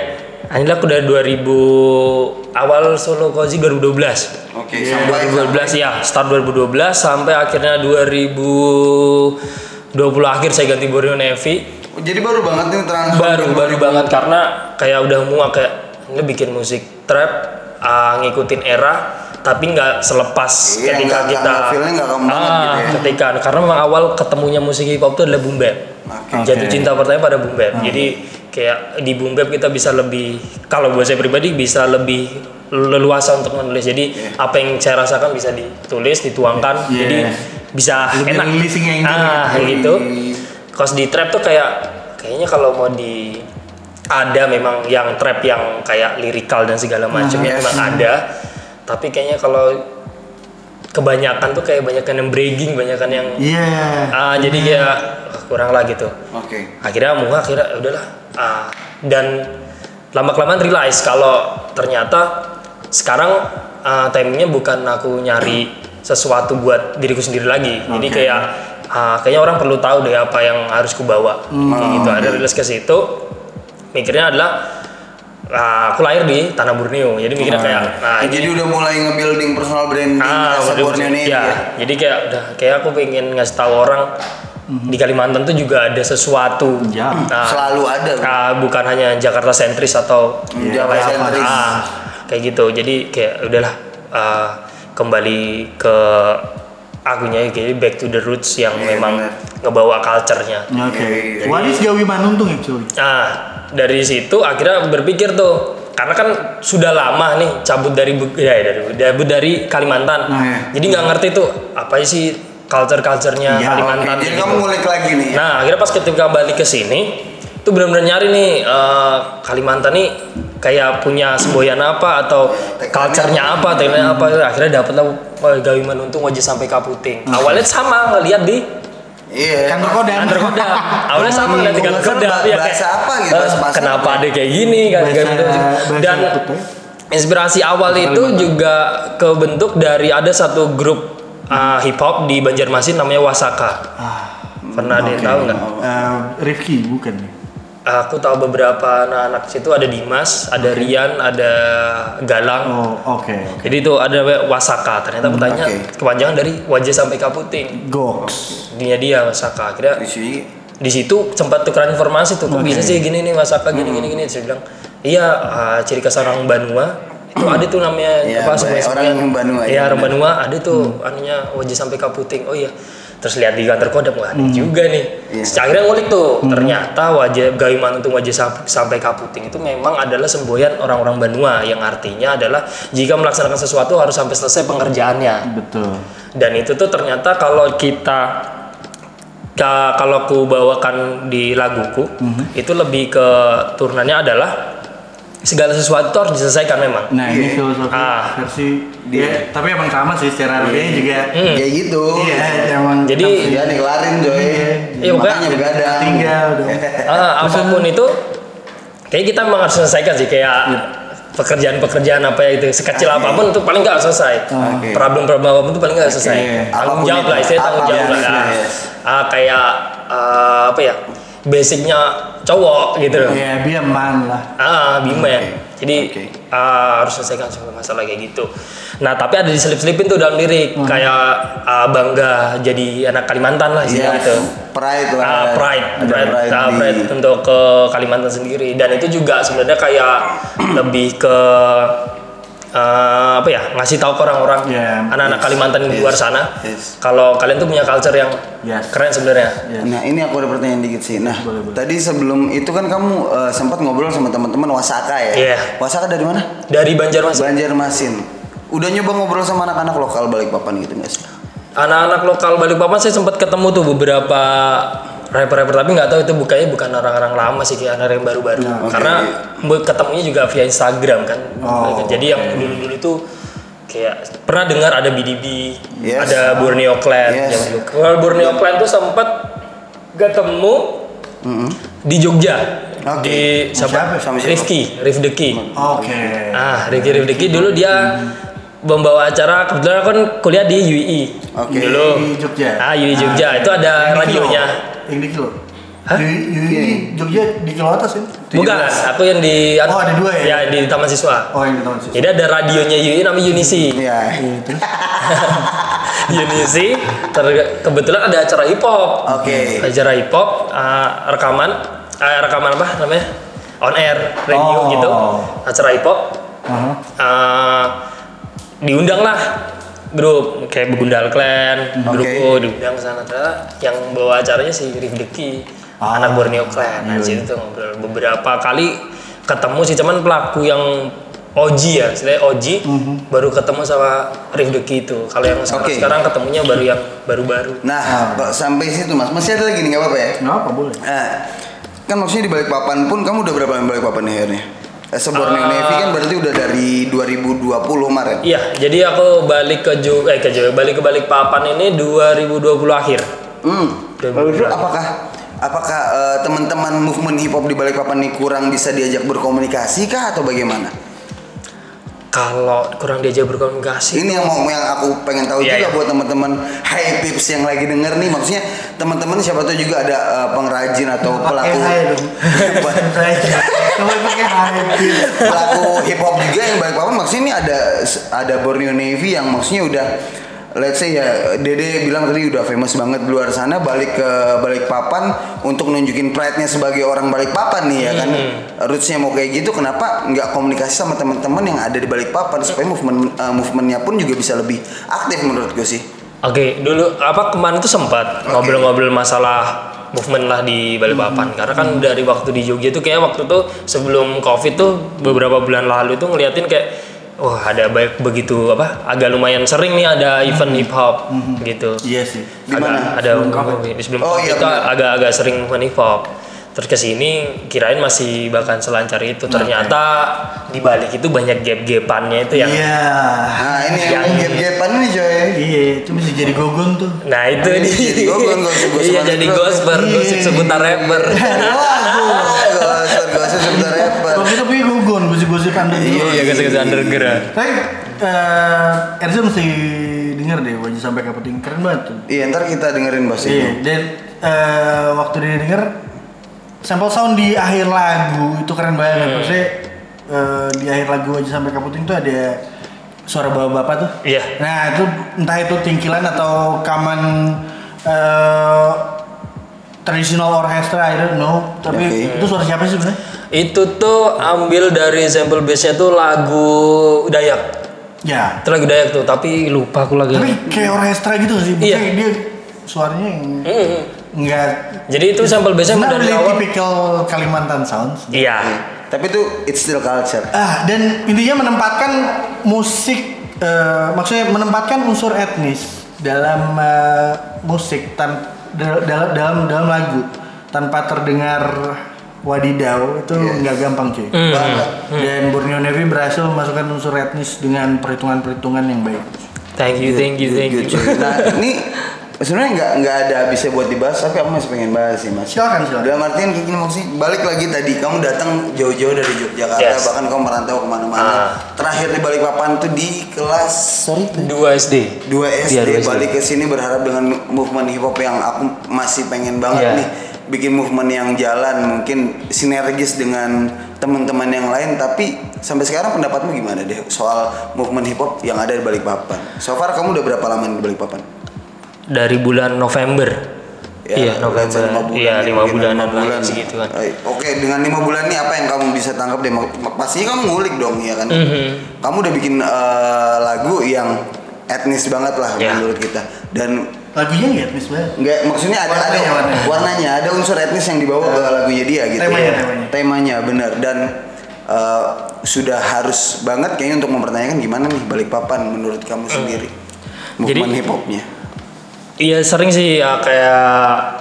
S3: inilah aku dari 2000 awal solo kozi 2012.
S2: Oke, sampai
S3: 2012 ya, start 2012 sampai akhirnya 2020 akhir saya ganti Borneo Navy
S2: Jadi baru banget nih transfer.
S3: baru baru banget karena kayak udah muak kayak ini bikin musik trap ah, ngikutin era tapi nggak selepas
S2: Iya,
S3: ketika
S2: nggak- nggak-
S3: kita
S2: nggak feel-nya nggak kamu banget
S3: Ah,
S2: gitu ya.
S3: ketika karena memang awal ketemunya musik hip hop itu adalah boom bap
S1: Oke. Hmm.
S3: jatuh cinta pertama pada boom bap jadi kayak di boom bap kita bisa lebih kalau buat saya pribadi bisa lebih leluasa untuk menulis jadi
S2: Iya.
S3: apa yang saya rasakan bisa ditulis dituangkan
S1: Yes.
S3: jadi
S1: Yes.
S3: bisa
S1: Iya. Lebih
S3: enak
S1: releasing yang gitu.
S3: ah gitu
S2: Iya.
S3: Kos di trap tuh kayak kayaknya kalau mau di ada memang yang trap yang kayak lirikal dan segala macam ya,
S2: yes.
S3: memang ada. Tapi kayaknya kalau kebanyakan tuh kayak banyakan yang breaking, banyakan yang
S1: Iya.
S3: ah jadi ya kurang lah gitu.
S2: Oke.
S3: Akhirnya muak akhirnya udahlah. Ah, dan lama kelamaan realize kalau ternyata sekarang ah, timingnya bukan aku nyari sesuatu buat diriku sendiri lagi. Jadi
S1: Oke.
S3: kayak ah, kayaknya orang perlu tahu deh apa yang harus ku bawa. Kayak gitu. Ada rilis ke situ. Mikirnya adalah ah, aku lahir di tanah Borneo. Jadi mikirnya kayak
S2: iya.
S3: nah
S2: Ya,
S3: ini
S2: Jadi udah mulai nge-building personal branding
S3: Ah,
S2: rasa
S3: waduh,
S2: Borneo
S3: ya.
S2: ini. ya.
S3: Jadi kayak udah kayak aku pengen ngasih tahu orang di Kalimantan tuh juga ada sesuatu.
S1: Ya.
S3: Nah,
S2: Selalu ada.
S3: ah, bukan hanya Jakarta sentris atau
S2: Iya, Jawa
S3: Jawa sentris.
S2: sentris.
S3: Ah, kayak gitu. Jadi kayak udahlah ah, kembali ke akunya ya, kayak back to the roots yang
S2: Iya,
S3: memang
S2: bener.
S3: ngebawa culture-nya.
S1: Oke.
S2: Iya, iya,
S1: What is gawi manuntung ya, actually?
S3: Nah, dari situ akhirnya berpikir tuh, karena kan sudah lama nih cabut dari Be- ya, dari cabut dari Kalimantan.
S1: Nah, iya.
S3: Jadi nggak ngerti tuh apa sih
S1: Iya,
S3: culture-culturenya
S2: Oke,
S3: Kalimantan.
S2: jadi
S3: gitu.
S2: kamu ngulik lagi nih. ya?
S3: Nah, akhirnya pas ketika balik ke sini, tuh benar-benar nyari nih eh, Kalimantan nih kayak punya semboyan apa atau culture-nya apa, tekniknya apa.
S2: Hmm.
S3: Akhirnya dapatlah eh, Gawi Manuntung wajah sampai Kaputing. Awalnya sama ngelihat di
S2: Iya.
S1: Kan berkodam.
S3: Under Eh, kodam. Awalnya sama
S2: Hmm,
S3: ngeliat dengan
S2: bukan
S3: kodam.
S2: ba- bahasa apa gitu,
S3: "Eh,
S2: bahasa- bahasa
S3: kenapa
S2: apa?"
S3: ada kayak gini kan?
S1: Bahasa-
S3: kayak gitu.
S1: bahasa
S3: Dan
S1: Kutub.
S3: inspirasi awal itu juga kebentuk dari ada satu grup uh, hip hop di Banjarmasin namanya Wasaka.
S1: Ah,
S3: Pernah ada yang tahu nggak?
S1: eh, Rifki bukan ya?
S3: Aku tahu beberapa anak-anak situ ada Dimas, ada Rian, ada Galang.
S1: Oh, oke.
S3: Jadi itu ada Wasaka. Ternyata pertanyaan
S2: Hmm, oke.
S3: kepanjangan dari wajah sampai kaputing.
S1: Goks.
S3: Dia dia Wasaka. Akhirnya
S2: Di sini
S3: di situ sempat tukeran informasi tuh kok bisa sih gini nih mas Aka gini
S2: Hmm.
S3: gini gini saya bilang iya ah, ciri khas orang Banua itu ada tuh
S1: Kan
S3: namanya
S2: Iya,
S3: apa
S2: Mbak, orang yang Banua,
S3: iya
S2: ya,
S3: orang Banua ada tuh anunya wajah sampai kaputing oh iya terus lihat di kantor kodam wah ada juga nih
S2: Iya.
S3: Terus akhirnya ngulik tuh ternyata wajah gayuman untuk wajah sam- sampai kaputing itu memang adalah semboyan orang-orang Banua yang artinya adalah jika melaksanakan sesuatu harus sampai selesai pengerjaannya
S1: Betul.
S3: dan itu tuh ternyata kalau kita ka- kalau ku bawakan di laguku itu lebih ke turunannya adalah segala sesuatu harus diselesaikan memang
S1: Nah, ini filosofi
S3: Ah. Iya.
S1: versi dia. tapi emang sama sih secara harfiahnya juga.
S2: kayak gitu.
S1: Iya, emang
S3: Hmm. Jadi,
S2: Iya, dikelarin coy.
S3: Iya, bukan.
S2: Makanya begadang.
S1: tinggal dong.
S3: Ah, apapun itu kayak kita memang harus selesaikan sih kayak
S2: Iya.
S3: pekerjaan-pekerjaan apa ya itu sekecil apapun itu paling nggak harus selesai
S2: Oke.
S3: problem-problem apapun itu paling nggak harus selesai tanggung
S2: Apapun
S3: jawab
S2: itu.
S3: lah istilahnya tanggung
S2: Apapun
S3: jawab lah
S2: itu,
S3: Ah,
S2: yes.
S3: ah, kayak ah, apa ya basicnya cowok gitu loh
S1: Ya, biar man Iya, lah.
S3: Ah, Bima ya.
S2: Iya.
S3: Jadi
S2: Oke.
S3: ah, harus selesaikan semua masalah kayak gitu. Nah tapi ada diselip-selipin tuh dalam lirik kayak ah, bangga jadi anak Kalimantan lah
S2: Iya,
S3: istilahnya gitu.
S2: pride lah.
S3: Ah, pride,
S2: Ada
S3: pride,
S2: pride,
S3: ah,
S2: di-
S3: pride untuk ke Kalimantan sendiri dan itu juga sebenarnya kayak lebih ke eh, apa ya ngasih tahu ke orang-orang
S1: Ya,
S3: anak-anak
S2: yes,
S3: Kalimantan di
S2: yes,
S3: luar sana
S2: yes.
S3: kalau kalian tuh punya culture yang
S1: Yes.
S3: keren sebenarnya
S1: Iya.
S2: Nah ini aku ada pertanyaan dikit sih. Nah
S1: Boleh, boleh.
S2: tadi sebelum itu kan kamu eh, sempat ngobrol sama teman-teman Wasaka ya.
S3: Iya.
S2: Wasaka dari mana?
S3: dari Banjarmasin
S2: Banjarmasin. Udah nyoba ngobrol sama anak-anak lokal Balikpapan gitu nggak sih?
S3: anak-anak lokal Balikpapan saya sempat ketemu tuh beberapa rapper-rapper tapi nggak tahu itu bukannya bukan orang-orang lama sih kayak anak yang baru-baru
S2: Nah, oke.
S3: karena bu- ketemunya juga via Instagram kan
S1: Oh,
S3: jadi yang dulu-dulu tuh kayak pernah dengar ada BDB
S2: Yes.
S3: ada Borneo Clan
S2: Yes.
S3: yang dulu. Kalau Borneo Clan tuh sempat ketemu di Jogja
S2: Oke.
S3: di siapa,
S2: Sama siapa?
S3: Rifki Rifdeki
S1: Oke.
S3: ah Rifki Rifdeki dulu dia membawa acara kebetulan aku kan kuliah di UI
S2: Oke.
S3: dulu
S1: Di E Jogja.
S3: ah UI Jogja itu
S1: Yang
S3: ada
S1: di Kilo.
S3: radionya
S1: Yang di Kilo.
S3: Hah?
S1: Di, di,
S2: Iya.
S1: di Jogja di Kilo atas kan?
S3: bukan aku yang di
S1: Oh, ada dua ya?
S3: di Taman Siswa
S1: Oh, yang di tahun sih.
S3: jadi ada radionya UI namanya Unisi
S2: Iya.
S1: Iya.
S3: Unisi ter- kebetulan ada acara hip
S1: Oh,
S3: hop
S2: Oke.
S3: acara hip hop ah, rekaman ah, rekaman apa namanya on air radio
S1: Oh.
S3: gitu acara hip hop
S2: Uh-huh.
S1: Aha.
S3: eh diundang lah grup kayak Begundal Clan, grup
S2: Oke.
S3: O diundang ke sana ternyata yang bawa acaranya si Rifdeki,
S1: Ah.
S3: anak Borneo Clan.
S2: Iya,
S3: Nah, situ tuh ngobrol beberapa kali ketemu sih cuman pelaku yang Oji ya, istilahnya Oji baru ketemu sama Rifdeki itu. Kalau yang
S2: Mhm.
S3: sekarang,
S2: Oke.
S3: sekarang ketemunya baru yang baru-baru.
S2: Nah ba- sampai situ mas masih ada lagi nih nggak apa-apa ya?
S1: Nggak apa boleh.
S2: Nah, kan maksudnya di Balikpapan pun kamu udah berapa lama di Balikpapan nih akhirnya? Eh, Sebelum
S3: Ah.
S2: Navy kan berarti udah dari 2020 kemarin.
S3: Iya, jadi aku balik ke Jog eh ke Jog- balik ke Balikpapan ini 2020 akhir.
S2: Hmm. Lalu itu apakah apakah eh, teman-teman movement hip hop di Balikpapan ini kurang bisa diajak berkomunikasi kah atau bagaimana?
S3: Kalau kurang diajak berkomunikasi
S2: Ini yang mau yang aku pengen tahu
S3: Iya,
S2: juga
S3: iya.
S2: buat teman-teman high pips yang lagi denger nih maksudnya teman-teman siapa tahu juga ada eh, pengrajin atau
S1: Pakai
S2: pelaku
S1: hai dong. Coba pakai hai. Pil.
S2: pelaku hip hop juga yang Balikpapan maksudnya ini ada ada Borneo Navy yang maksudnya udah let's say ya Dede bilang tadi udah famous banget di luar sana balik ke Balikpapan untuk nunjukin pride-nya sebagai orang Balikpapan nih ya kan
S3: Hmm.
S2: rootsnya mau kayak gitu kenapa nggak komunikasi sama teman-teman yang ada di Balikpapan supaya movement eh, movementnya pun juga bisa lebih aktif menurut gue sih
S3: Oke, dulu apa kemarin tuh sempat ngobrol-ngobrol masalah movement lah di Balikpapan karena kan dari waktu di Jogja tuh kayak waktu tuh sebelum Covid tuh beberapa bulan lalu tuh ngeliatin kayak wah ada baik begitu apa agak lumayan sering nih ada event hip hop gitu.
S1: Iya sih.
S2: Di
S3: Agak-
S2: mana?
S3: Ada sebelum Covid, sebelum
S2: Oh, iya,
S3: Covid tuh
S2: benar.
S3: agak-agak sering movement hip hop. Terus ke sini kirain masih bahkan selancar itu ternyata di balik itu banyak gap-gapannya itu ya. yang
S1: Iya.
S2: nah ini yang
S3: Yang-
S2: gap-gapan nih coy
S1: Iya, itu bisa jadi gogon tuh.
S3: Nah itu
S2: Jadi
S3: nih.
S2: jadi gosper, gosip, Iya, gosip
S3: Iya
S2: anak
S3: jadi
S2: dulu.
S3: gosper, gosip seputar rapper.
S2: Gosok, gosok, sebentar ya, rapper.
S1: Kalau kita punya gogon, gosip-gosip anda
S3: Iya iya gosip-gosip underground.
S1: Tapi eh Erza mesti denger deh wajah sampai ke penting keren banget tuh.
S2: Iya ntar kita dengerin bahasa
S1: Iya, dan eh, waktu dia denger sampel sound di akhir lagu itu keren banget.
S3: Iya.
S1: Maksudnya eh, di akhir lagu aja sampai ke penting tuh ada suara bapak-bapak tuh.
S3: Iya.
S1: Nah itu entah itu tingkilan atau kaman eh, tradisional orkestra, I don't know. Tapi
S2: Oke.
S1: itu suara siapa sih sebenarnya?
S3: Itu tuh ambil dari sampel base-nya tuh lagu Dayak.
S1: Ya.
S3: Itu lagu Dayak tuh, tapi lupa aku lagi.
S1: Tapi kayak orkestra gitu sih.
S3: Iya.
S1: Maksudnya dia suaranya yang
S3: Mm-mm.
S1: nggak
S3: Jadi itu sampel base-nya
S1: nggak
S3: dari
S1: really
S3: awal.
S1: typical Kalimantan sounds.
S3: Iya.
S2: Tapi itu it's still culture.
S1: Ah, dan intinya menempatkan musik, eh, maksudnya menempatkan unsur etnis dalam eh, musik tan dal- dalam dalam dalam lagu tanpa terdengar wadidau itu nggak gampang cuy.
S3: Hmm.
S2: Banget.
S1: Dan Borneo Navy berhasil memasukkan unsur etnis dengan perhitungan-perhitungan yang baik.
S3: Thank you, thank you, thank you.
S2: Gitu, cuy. Nah ini sebenarnya nggak nggak ada habisnya buat dibahas tapi aku masih pengen bahas sih mas.
S1: Silakan silakan.
S2: Dalam artian kayak gini maksudnya balik lagi tadi kamu datang jauh-jauh dari Yogyakarta
S3: Yes.
S2: bahkan kamu merantau kemana-mana.
S3: Ah.
S2: Terakhir di Balikpapan tuh di kelas sorry
S3: Dua SD.
S2: dua
S3: Iya, dua
S2: SD
S3: SD.
S2: balik ke sini berharap dengan movement hip hop yang aku masih pengen banget
S3: Iya.
S2: nih bikin movement yang jalan mungkin sinergis dengan teman-teman yang lain tapi Sampai sekarang pendapatmu gimana deh soal movement hip hop yang ada di Balikpapan? So far kamu udah berapa lama di Balikpapan? Ya,
S3: dari bulan November. iya,
S2: let's say lima
S3: November.
S2: bulan
S3: Iya,
S2: ya,
S3: lima gitu
S2: mungkin
S3: bulanan
S2: lima
S3: lah kan.
S2: bulan.
S3: segituan.
S2: Eh, Oke, dengan lima bulan ini apa yang kamu bisa tangkap deh? Mak- Pastinya kamu ngulik dong ya kan?
S3: Mhm.
S2: Kamu udah bikin eh, lagu yang etnis banget lah
S3: Ya.
S2: menurut kita dan
S1: Lagunya nggak etnis banget.
S2: Enggak, maksudnya ada
S1: Warnanya,
S2: ada
S1: warnanya.
S2: warnanya, ada unsur etnis yang dibawa ke lagunya dia gitu.
S1: Temanya,
S2: Iya.
S1: temanya.
S2: Temanya, benar dan eh, sudah harus banget kayaknya untuk mempertanyakan gimana nih Balikpapan menurut kamu sendiri.
S3: Jadi-
S2: Movement hip hopnya.
S3: Iya sering sih ya, kayak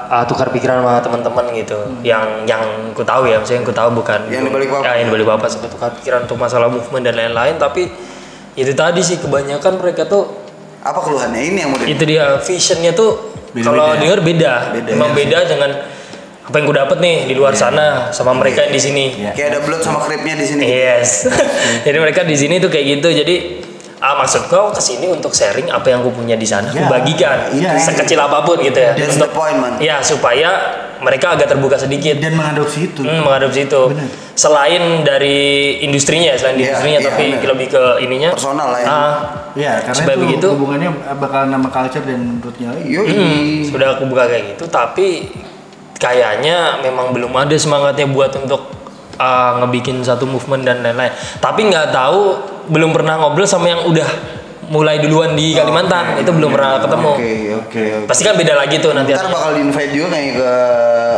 S3: ah, tukar pikiran sama teman-teman gitu. Yang yang ku tahu ya, maksudnya yang ku tahu bukan
S2: Hmm. Yang di Balikpapan.
S3: Ya, yang di Balikpapan suka tukar pikiran untuk masalah movement dan lain-lain tapi itu tadi sih kebanyakan mereka tuh
S2: Apa keluhannya ini yang mau di
S3: itu dia visionnya tuh
S1: Beda-beda.
S3: kalau denger beda.
S2: Beda, iya
S3: Emang beda dengan apa yang ku dapat nih di luar sana sama
S2: Iya.
S3: mereka yang di sini.
S2: Kayak ada blood sama kripnya di sini.
S3: Yes. Jadi mereka di sini tuh kayak gitu. Jadi ah, maksud kau kesini untuk sharing apa yang aku punya di sana, aku
S1: Ya.
S3: bagikan
S1: Iya, iya.
S3: sekecil apapun gitu ya.
S2: That's the
S3: Untuk-
S2: point, man.
S3: ya supaya mereka agak terbuka sedikit
S1: Dan mengadopsi itu.
S3: hmm, mengadopsi itu.
S1: Benar.
S3: Selain dari industrinya, ya, selain di
S2: Iya,
S3: industrinya,
S2: iya,
S3: tapi
S2: benar.
S3: lebih ke ininya
S2: Personal lah ya.
S3: Ah,
S1: Ya, karena
S3: Supaya
S1: itu
S3: begitu.
S1: hubungannya bakal nama culture dan rootnya lagi.
S2: Yoi.
S3: Hmm, sudah aku buka kayak gitu tapi kayaknya memang belum ada semangatnya buat untuk uh, ngebikin satu movement dan lain-lain tapi nggak tahu belum pernah ngobrol sama yang udah mulai duluan di Kalimantan itu belum pernah ketemu
S2: Oh, Oke, oke, oke.
S3: pasti kan beda lagi tuh nanti
S2: Ntar bakal di invite juga kayak ke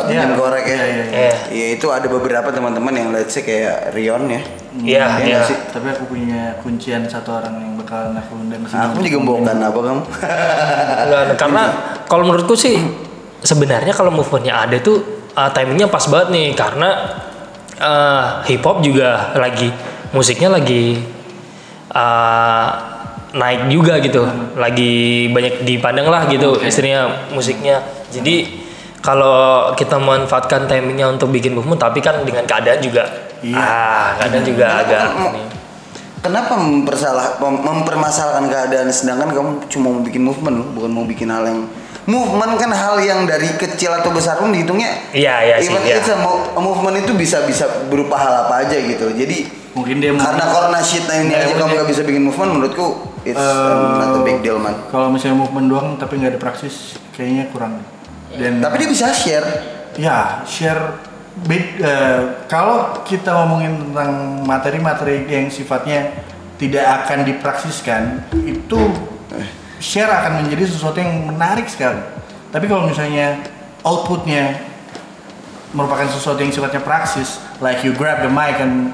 S1: Iya.
S2: Mungkin Korek ya.
S1: Iya, iya,
S3: iya. Iya.
S2: Iya, itu ada beberapa teman-teman yang let's say kayak Rion ya.
S3: Iya,
S2: Iya
S3: iya.
S2: nggak sih?
S1: Tapi aku punya kuncian satu orang yang bakal aku undang ke sini.
S2: Aku juga mbokan apa kamu?
S3: Nggak, Nah, karena kalau menurutku sih sebenarnya kalau movementnya ada tuh uh, timingnya pas banget nih karena uh, hip hop juga lagi musiknya lagi uh, naik juga gitu lagi banyak dipandang lah gitu istrinya musiknya jadi kalau kita memanfaatkan timingnya untuk bikin movement tapi kan dengan keadaan juga ah keadaan juga agak
S2: Mo-
S3: ini.
S2: Kenapa mempersalah mem- mempermasalahkan keadaan sedangkan kamu cuma mau bikin movement loh, bukan mau bikin hal yang movement kan hal yang dari kecil atau besar pun dihitungnya.
S3: Iya, iya sih,
S2: Even
S3: iya.
S2: it's a mo- a movement itu bisa bisa berupa hal apa aja gitu. Jadi
S1: Mungkin dia mau-
S2: karena corona shit ini
S1: Iya,
S2: aja kamu
S1: mungkin.
S2: gak bisa bikin movement menurutku it's
S1: Eh,
S2: not a big deal man.
S1: Kalau misalnya movement doang tapi nggak ada praksis, kayaknya kurang. Dan
S2: Tapi dia bisa share.
S1: ya share bed- eh, kalau kita ngomongin tentang materi-materi yang sifatnya tidak akan dipraksiskan itu share akan menjadi sesuatu yang menarik sekali tapi kalau misalnya outputnya merupakan sesuatu yang sifatnya praksis like you grab the mic and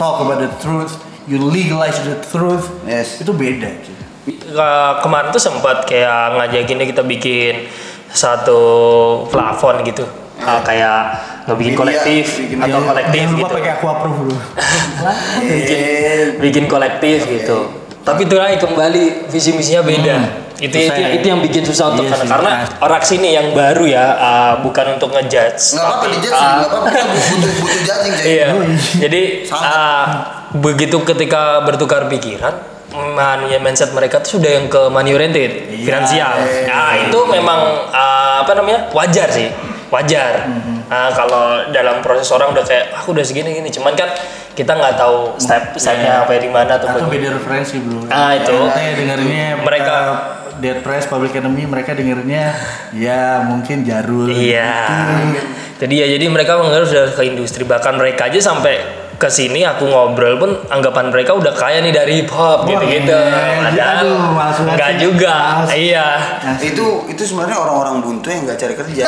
S1: talk about the truth you legalize the truth
S2: Yes.
S1: itu beda cuy.
S3: Ke- kemarin tuh sempat kayak ngajakinnya kita bikin satu plafon gitu Ah, kayak ngebikin
S2: Media,
S3: kolektif
S2: bikin
S3: atau
S1: Jangan-
S3: kolektif
S1: jangan lupa
S3: gitu
S1: pakai aqua proof dulu
S3: bikin,
S1: Iya.
S3: bikin kolektif gitu tapi itu lagi kembali visi misinya beda itu,
S1: Susah
S3: itu
S1: ya.
S3: itu yang bikin susah untuk
S1: Iya
S3: karena,
S1: sih.
S3: karena orang sini yang baru ya ah, bukan untuk ngejudge
S2: Nggak apa-apa
S3: tapi,
S2: di judge,
S3: ah,
S2: nggak apa-apa kita butuh butuh judging jadi.
S3: Iya.
S1: Yoi.
S3: Jadi
S2: Sangat.
S3: ah, begitu ketika bertukar pikiran, manusia mindset mereka tuh sudah yang ke money oriented, finansial. Nah, itu memang ah, apa namanya? wajar sih. Wajar. Ah, kalau dalam proses orang udah kayak aku udah segini gini, cuman kan kita nggak tahu step stepnya apa di mana Iya. atau
S1: atau
S3: bagaimana.
S1: beda referensi belum
S3: Ah, itu.
S1: saya dengerinnya mereka
S3: Mereka-
S1: Dead Press Public Enemy mereka dengerinnya ya mungkin Jarul
S3: Iya. Jadi ya jadi mereka mengaruh sudah ke industri bahkan mereka aja sampai ke sini aku ngobrol pun anggapan mereka udah kaya nih dari hip hop
S1: Wah,
S3: gitu-gitu.
S1: iya.
S3: Padahal
S1: Aduh, malas banget
S3: enggak
S1: sih.
S3: juga.
S1: Malas.
S3: Iya.
S1: Asli.
S2: itu itu sebenarnya orang-orang buntu yang nggak cari kerja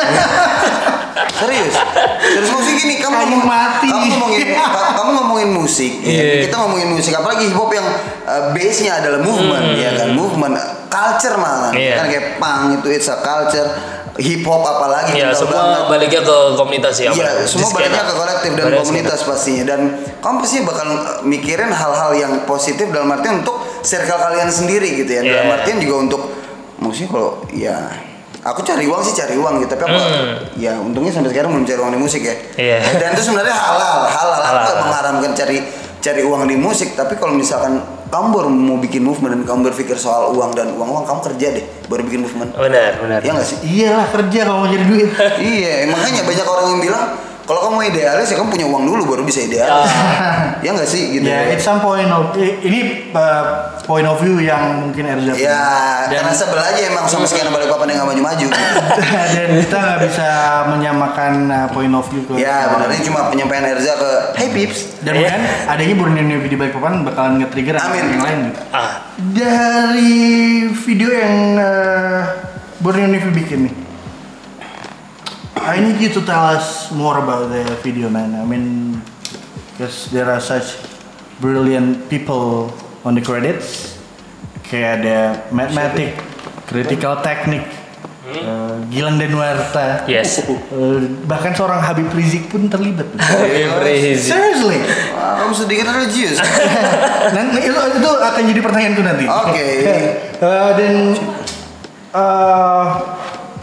S2: serius terus musik ini kamu
S1: Kayu
S2: ngomong-
S1: mati.
S2: kamu ngomongin ka- kamu ngomongin musik ya.
S3: Iya.
S2: kita ngomongin musik apalagi hip hop yang uh, base nya adalah movement ya kan movement culture malah
S3: Hmm. Iya.
S2: kan kayak punk itu it's a culture hip hop apalagi
S3: Iya,
S2: kental banget.
S3: semua baliknya ke komunitas ya. Pak.
S2: Iya, semua
S3: Di skena.
S2: baliknya ke kolektif dan
S3: Baliknya
S2: komunitas pastinya. Dan kamu pasti bakal eh, mikirin hal-hal yang positif dalam artian untuk circle kalian sendiri gitu ya. Dalam
S3: Iya.
S2: artian juga untuk musik kalau ya aku cari uang sih cari uang gitu tapi aku ya untungnya sampai sekarang belum cari uang di musik ya.
S3: Iya.
S2: Dan itu sebenarnya halal, halal. Aku nggak
S3: Halal.
S2: mengharamkan cari cari uang di musik tapi kalau misalkan kamu baru mau bikin movement dan kamu berpikir soal uang dan uang uang kamu kerja deh baru bikin movement.
S3: Benar, benar.
S2: Iya nggak sih?
S1: iyalah kerja kalau mau jadi duit
S2: iya makanya banyak orang yang bilang Kalau kamu mau idealis ya kamu punya uang dulu baru bisa idealis. ya nggak sih gitu.
S1: Ya, it's some point of i- ini uh, point of view yang mungkin Erza punya.
S2: Ya, karena sebel aja emang sama sekian balik papan yang nggak maju-maju. gitu.
S1: dan kita nggak bisa menyamakan uh, point of view ke
S2: ya, benarnya
S3: Iya.
S2: cuma penyampaian Erza ke Hey Pips.
S1: dan mungkin adanya Borneo di baik papan bakalan nge-trigger
S2: Amin.
S1: yang lain gitu.
S3: Ah,
S1: Dari video yang uh, Borneo Navy bikin nih. Ah, I need you to tell us more about the video man. I mean, because there are such brilliant people on the credits. Kayak ada Mathematic, Critical Technique, uh, Gilang Denwarta,
S3: yes.
S1: uh, bahkan seorang Habib Rizik pun terlibat.
S3: Every
S1: Seriously,
S2: Wah, Ah, kamu sedikit religius.
S1: nanti itu, itu akan jadi pertanyaanku nanti.
S2: Oke.
S1: Eh, dan eh,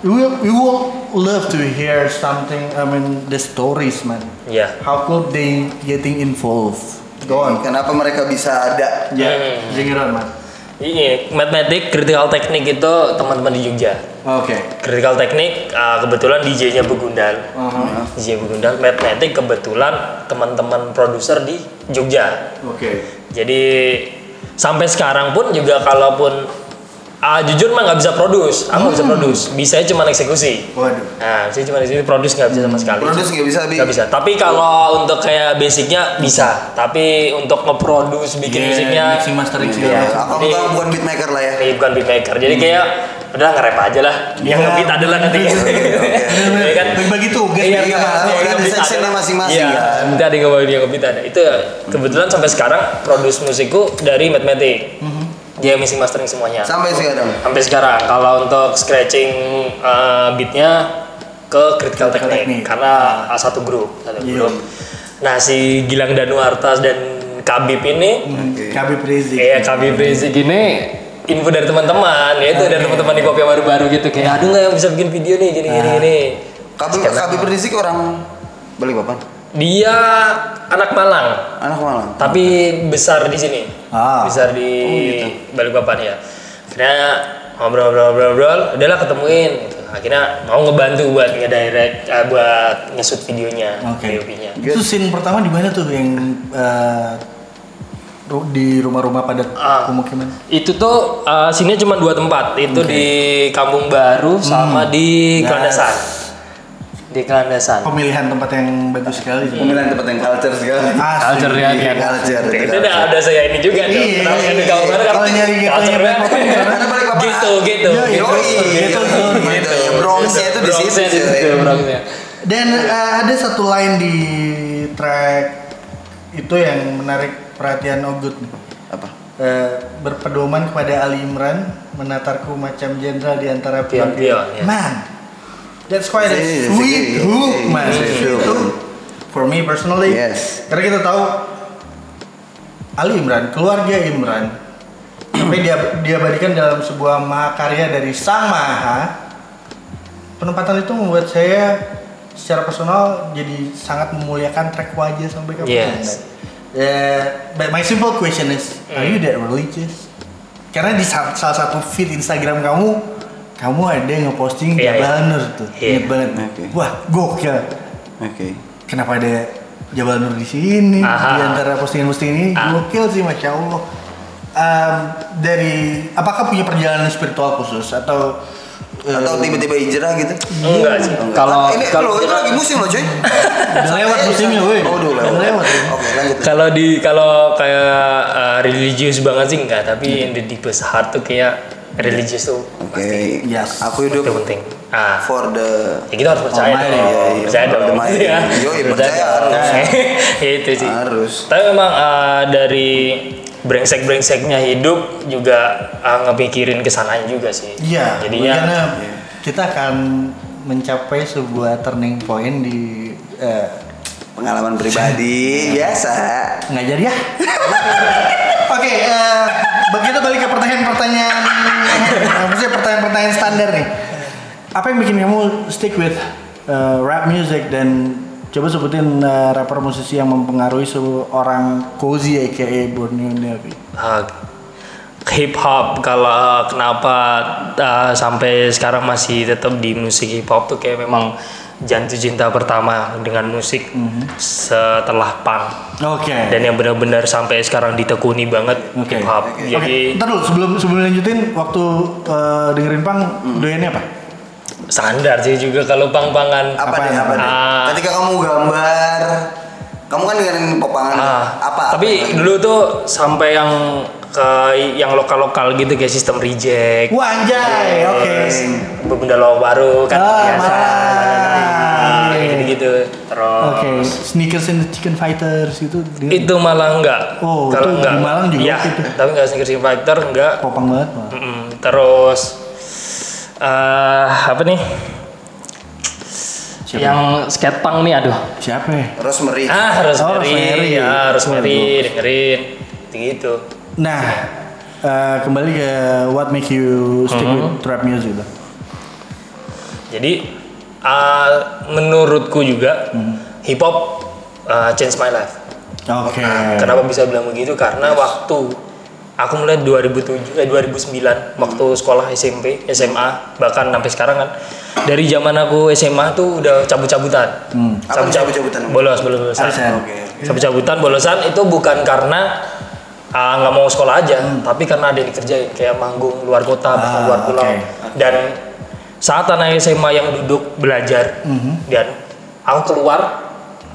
S1: we we will love to hear something. I mean the stories, man.
S3: Yeah.
S1: How could they getting involved? Go on.
S2: Kenapa mereka bisa ada?
S1: Yeah, bring it on, man.
S3: ini matematik critical teknik itu teman-teman di Jogja.
S1: Oke.
S3: Critical teknik ah, kebetulan DJ-nya Begundal.
S1: Uh-huh.
S3: DJ Begundal matematik kebetulan teman-teman produser di Jogja.
S1: Oke.
S3: Jadi sampai sekarang pun juga kalaupun ah, jujur mah nggak bisa produce, aku nggak
S1: Hmm.
S3: bisa produce, bisa cuma eksekusi.
S1: Waduh.
S3: Nah, saya cuma di sini produce nggak bisa sama sekali.
S2: Produce nggak bisa, Bi.
S3: Nggak bisa. Tapi kalau untuk kayak basicnya bisa. Tapi untuk nge-produce bikin
S1: Yeah,
S3: musiknya,
S1: Iya, mixing, mastering, segala
S3: Iya.
S1: macam.
S2: Aku
S3: Jadi-
S2: bukan bukan beatmaker lah ya.
S3: ini bukan beatmaker. Jadi kayak udah ngerep aja lah. Yang
S1: Hmm. Iya.
S3: ngebeat adalah nanti. Iya kan?
S1: Bagi-bagi tugas.
S3: Iya,
S1: bagi-bagi
S2: iya.
S1: apa.
S2: Ada
S3: yang ngebeat
S2: section
S3: ada.
S2: masing-masing,
S3: Iya,
S2: kan?
S3: nanti ada yang ngebawain yang ngebeat ada. Itu ya, kebetulan sampai sekarang produce musikku dari matematik. Dia mixing mastering semuanya.
S2: ya. Sampai sekarang.
S3: Sampai sekarang kalau untuk scratching eh, beatnya ke critical
S1: Technique.
S3: technique karena eh, satu grup, satu
S1: Iya.
S3: grup. Nah, si Gilang Danuartas dan Kabib ini
S1: Mhm. Kabib Rizik.
S3: Iya, kami Rizik gini info dari teman-teman, yaitu dari teman-teman di kopi yang baru-baru gitu kayak aduh nggak yang bisa bikin video nih gini gini gini.
S2: Kabib
S3: Sekarang.
S2: Kabib Rizik orang balik papan.
S3: Dia anak Malang,
S2: Anak Malang.
S3: tapi besar di sini.
S1: Ah.
S3: Besar di Balikpapan ya. Akhirnya ngobrol-ngobrol-ngobrol, udahlah ketemuin gitu. Akhirnya mau ngebantu buat ngedirect eh, buat nge-shoot videonya,
S1: Oke.
S3: POV-nya.
S1: Itu scene pertama di mana tuh yang eh, ru- di rumah-rumah padat
S3: Ah.
S1: pemukiman?
S3: Itu tuh eh, sini cuma dua tempat, itu di Kampung Baru sama
S1: Hmm.
S3: di
S1: Yes.
S3: Kelandasan. Di Kelandasan.
S1: Pemilihan tempat yang bagus sekali. sih.
S2: Pemilihan tempat yang culture segala.
S1: Asli.
S3: Culture ya, kan.
S2: Culture.
S3: Oke,
S2: itu
S3: Itu udah
S2: culture.
S3: ada saya ini juga dong.
S1: Iya.
S3: Kenapa yang di Kampung Baru
S1: Kalau
S3: kan
S1: nyari gitu,
S3: culture
S1: nyari
S3: banget.
S1: apa-apa.
S2: Karena balik papan.
S3: Gitu, gitu.
S1: Yo, yo,
S2: Yo,
S1: Gitu,
S2: gitu,
S1: gitu.
S2: gitu. Bronxnya itu di
S3: Bronx-nya
S2: situ.
S3: di situ, Bronx-nya.
S1: Dan eh, ada satu line di track itu yang menarik perhatian Ogut nih.
S2: Apa?
S1: Eh, berpedoman kepada Ali Imran menatarku macam jenderal di antara
S3: Pion-pion, ya.
S1: Man, that's quite a
S2: Yes,
S1: sweet
S2: yes,
S1: hook,
S2: yes,
S1: man.
S2: yes, yes.
S1: Itu for me personally.
S2: Yes.
S1: Karena kita tahu Ali Imran, keluarga Imran, tapi dia diabadikan dalam sebuah mahakarya dari Sang Maha. Penempatan itu membuat saya secara personal jadi sangat memuliakan track wajah sampai kapan.
S3: Yes.
S1: Eh, but my simple question is, are you that religious? Karena di sa- salah satu feed Instagram kamu, kamu ada yang ngeposting
S3: Iya, iya.
S1: Jabal Nur tuh,
S3: Iya.
S1: ingat banget.
S2: Oke.
S1: Wah, gokil.
S2: Oke.
S3: Eh.
S1: Kenapa ada Jabal Nur di sini? Di
S3: Aha.
S1: antara postingan-postingan ini,
S3: Ah.
S1: gokil sih, masya Allah. Em, dari apakah punya perjalanan spiritual khusus atau eh,
S2: Atau tiba-tiba hijrah gitu.
S3: Enggak sih.
S2: Ah,
S3: Kalau
S2: ini
S3: kalau
S2: loh, ini lagi musim loh, cuy.
S1: udah lewat musimnya, woi?
S2: Oh, udah lewat.
S1: lewat. ya?
S2: Oke, lanjut.
S3: kalau di kalau kayak uh, religious banget sih enggak, tapi in the deepest heart tuh kayak religious tuh
S2: Oke.
S1: Yes.
S2: Aku hidup
S3: itu penting. Ah.
S2: for the
S3: Ya kita harus percaya
S1: Almighty,
S3: dong.
S1: iya,
S2: iya.
S3: Percaya dong.
S2: Almighty.
S3: Iya.
S2: Yo, iya, percaya
S3: dong.
S2: harus.
S3: Ya itu sih.
S2: harus.
S3: Tapi memang eh, dari brengsek-brengseknya hidup juga eh, ngepikirin kesananya juga sih.
S1: Iya.
S3: Jadinya
S1: karena kita akan mencapai sebuah turning point di eh,
S2: Pengalaman pribadi ah. biasa.
S1: nggak jadi ya. Oke, eh, begitu balik ke pertanyaan-pertanyaan, eh, maksudnya pertanyaan-pertanyaan standar nih. Apa yang bikin kamu stick with eh, rap music dan coba sebutin eh, rapper gitu. musisi yang mempengaruhi seorang Kozi aka Borneo Navy.
S3: ah, hip hop kalau kenapa uh, sampai sekarang masih tetap di musik hip hop tuh kayak memang jantung cinta pertama dengan musik setelah punk
S1: Mhm. Oke.
S3: dan yang benar-benar sampai sekarang ditekuni banget
S1: Oke.
S3: hip hop
S1: Oke,
S3: jadi
S1: ntar dulu sebelum sebelum lanjutin waktu eh, dengerin pang doyannya apa?
S3: standar sih juga kalau pang-pangan
S2: apa
S1: Apaan?
S2: deh apa deh
S3: Ah.
S2: ketika kamu gambar kamu kan dengerin popangan
S3: Ah,
S2: apa
S3: tapi dulu tuh sampai yang ke yang lokal-lokal gitu kayak sistem reject
S1: Wah anjay, oke.
S3: benda lo baru kan
S1: Ah,
S3: biasa
S1: marah.
S3: gitu gitu terus
S1: Oke, sneakers and the chicken fighters itu dia
S3: itu malah enggak
S1: Oh, itu di Malang juga
S3: Iya,
S1: gitu.
S3: tapi enggak sneakers in factor enggak
S1: popang banget. Bang.
S3: Mm-mm. terus eh apa nih
S1: Siapa?
S3: yang skatepunk nih aduh
S1: Siapa ya?
S2: Rosemary
S3: ah
S1: Oh,
S3: Rosemary,
S1: Rosemary.
S3: ya Rosemary dengerin gitu
S1: Nah, eh, kembali ke what make you stick with trap music Bang.
S3: Jadi uh, menurutku juga
S1: Hmm.
S3: hip hop uh, change my life.
S1: Oke.
S3: Kenapa bisa bilang begitu? Karena waktu aku mulai 2007 eh 2009 waktu sekolah SMP, SMA, bahkan sampai sekarang kan dari zaman aku SMA tuh udah cabut-cabutan.
S2: Apa tuh
S3: Cabut-cabut-
S2: cabut-cabutan?
S3: Bolos, bolos, bolosan.
S1: Arisan.
S2: Oke.
S3: Cabut-cabutan, bolosan itu bukan karena ah, nggak mau sekolah aja, tapi karena ada yang dikerjain kayak manggung luar kota, bahkan
S1: Hmm. Ah,
S3: luar pulau.
S1: oke.
S3: Dan saat anak SMA yang duduk belajar
S1: Hmm.
S3: dan aku keluar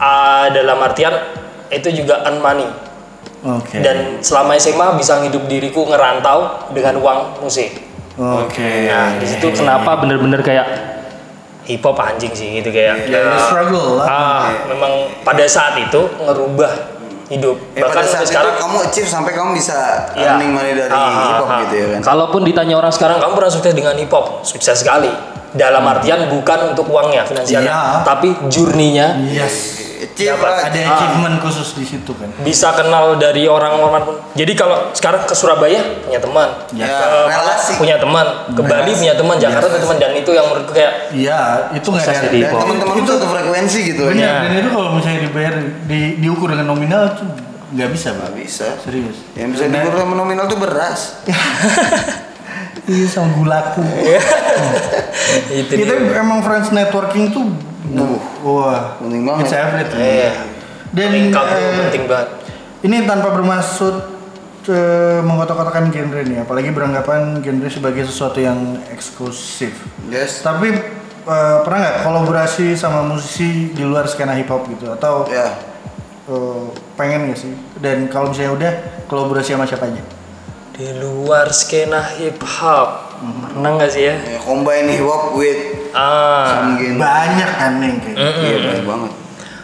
S3: ah, dalam artian itu juga earn money.
S1: Oke.
S3: Dan selama SMA bisa hidup diriku ngerantau dengan uang musik.
S1: Oke.
S3: Nah, di situ kenapa bener-bener kayak hip hop anjing sih gitu kayak.
S1: Ya,
S3: ah,
S1: struggle lah.
S3: Ah, memang pada saat itu ngerubah hidup.
S2: Eh,
S3: Bahkan
S2: pada saat
S3: sampai sekarang
S2: itu kamu achieve sampai kamu bisa
S3: Iya.
S2: earning money dari
S3: Ah,
S2: hip hop
S3: ah,
S2: gitu ya kan
S3: Kalaupun ditanya orang sekarang Hmm. kamu pernah sukses dengan hip hop, sukses sekali. Dalam artian bukan untuk uangnya finansialnya,
S1: Iya.
S3: tapi jurninya
S1: Yes.
S2: achieve
S3: Dapat
S2: lah
S1: Ada achievement khusus di situ kan.
S3: bisa kenal dari orang orang pun. Jadi kalau sekarang ke Surabaya punya teman,
S2: Ya,
S3: ke Malang
S2: relasi. Iya.
S3: punya teman, ke Bali punya teman, Jakarta punya teman dan itu yang menurutku kayak
S1: Iya, itu nggak
S3: Sukses
S1: ada.
S3: jadi
S2: dan
S1: Dan
S2: teman-teman
S1: itu-
S2: tuh satu frekuensi gitu
S1: Benar,
S2: ya
S3: Iya.
S1: dan itu kalau misalnya dibayar di, diukur dengan nominal tuh nggak bisa,
S2: Nggak
S1: Bang.
S2: bisa
S1: Serius.
S2: yang bisa diukur sama nominal tuh beras
S1: Iya, sama gulaku.
S3: itu.
S2: Iya,
S1: Kita
S3: dia.
S1: Iya, emang friends networking tuh uh,
S2: Nuh.
S1: wah,
S2: Penting banget.
S1: It's everything.
S3: Nah. Iya.
S1: Dan
S3: Lengkap,
S1: eh,
S3: penting banget.
S1: ini tanpa bermaksud eh, mengkotak-kotakan genre nih, apalagi beranggapan genre sebagai sesuatu yang eksklusif.
S2: yes
S1: Tapi eh, pernah nggak kolaborasi sama musisi di luar skena hip hop gitu atau
S2: ya
S3: Iya.
S1: eh, pengen nggak sih? Dan kalau misalnya udah kolaborasi sama siapa aja?
S3: Di luar skena hip hop, pernah nggak sih ya?
S2: Ya, combine hip hop with
S3: Ah,
S2: some game
S1: Banyak kan yang kayak
S3: Eh.
S1: gitu.
S2: iya banyak banget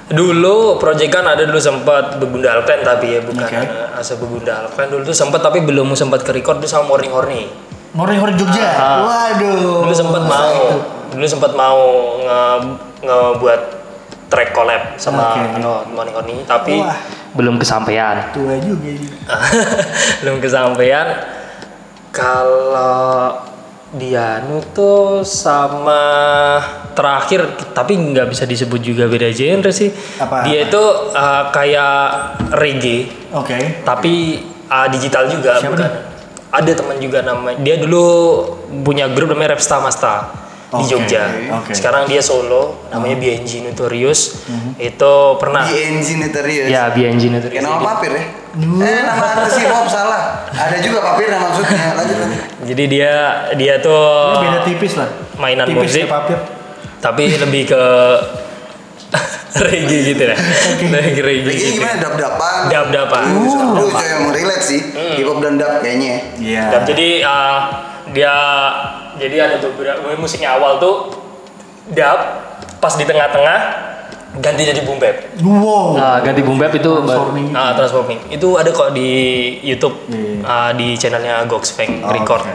S3: Dulu proyek kan ada dulu sempat Bebunda Alpen tapi ya bukan
S1: Oke.
S3: eh, asal Bebunda Alpen dulu tuh sempat tapi belum sempat ke record dulu sama Morning Horny.
S1: Ngori-ngori Jogja.
S3: Ah.
S1: Waduh.
S3: Dulu sempat
S1: Masa
S3: mau
S1: itu?
S3: dulu sempat mau nge ngebuat track collab sama
S1: Oke.
S3: ano, Morning Horny tapi
S1: Wah.
S3: belum kesampaian.
S1: Tua juga ini.
S3: belum kesampaian. Kalau Dianu tuh sama terakhir tapi nggak bisa disebut juga beda genre sih.
S1: Apa?
S3: Dia itu eh, kayak reggae
S1: Oke.
S3: tapi uh, digital juga
S1: Siapa
S3: bukan
S1: nih?
S3: ada teman juga namanya dia dulu punya grup namanya Repsta Masta di
S1: Oke,
S3: Jogja
S1: oke. Hmm.
S3: sekarang dia solo namanya BNG Notorious itu pernah
S1: Iya.
S2: di engine Notorious
S3: ya BNG Notorious
S2: Kayak nama
S3: Jadi-
S2: papir ya?
S1: Nuh.
S2: Eh nama artis hip hop salah. Ada juga papir nama maksudnya. Lanjut lanjut.
S3: jadi dia dia tuh
S1: Ini beda tipis lah.
S3: Eh, mainan
S1: tipis
S3: musik.
S1: kayak papir.
S3: tapi lebih ke reggae gitu ya Lebih ke reggae
S2: Lagi
S3: gitu
S2: gimana dap dapan?
S3: Dap-dapan. Mm.
S2: Lu coy yang relate sih. Hip hop dan dap kayaknya. ya.
S1: Iya.
S3: Dan jadi uh, dia jadi ada beberapa musiknya awal tuh dub pas di tengah-tengah ganti jadi boom bap.
S1: Wow.
S4: Nah, ganti boom bap itu
S1: Transforming.
S3: Ah, transforming. Itu ada kok di YouTube
S1: Iya. Oh,
S3: ah, di channelnya Goxfeng Record.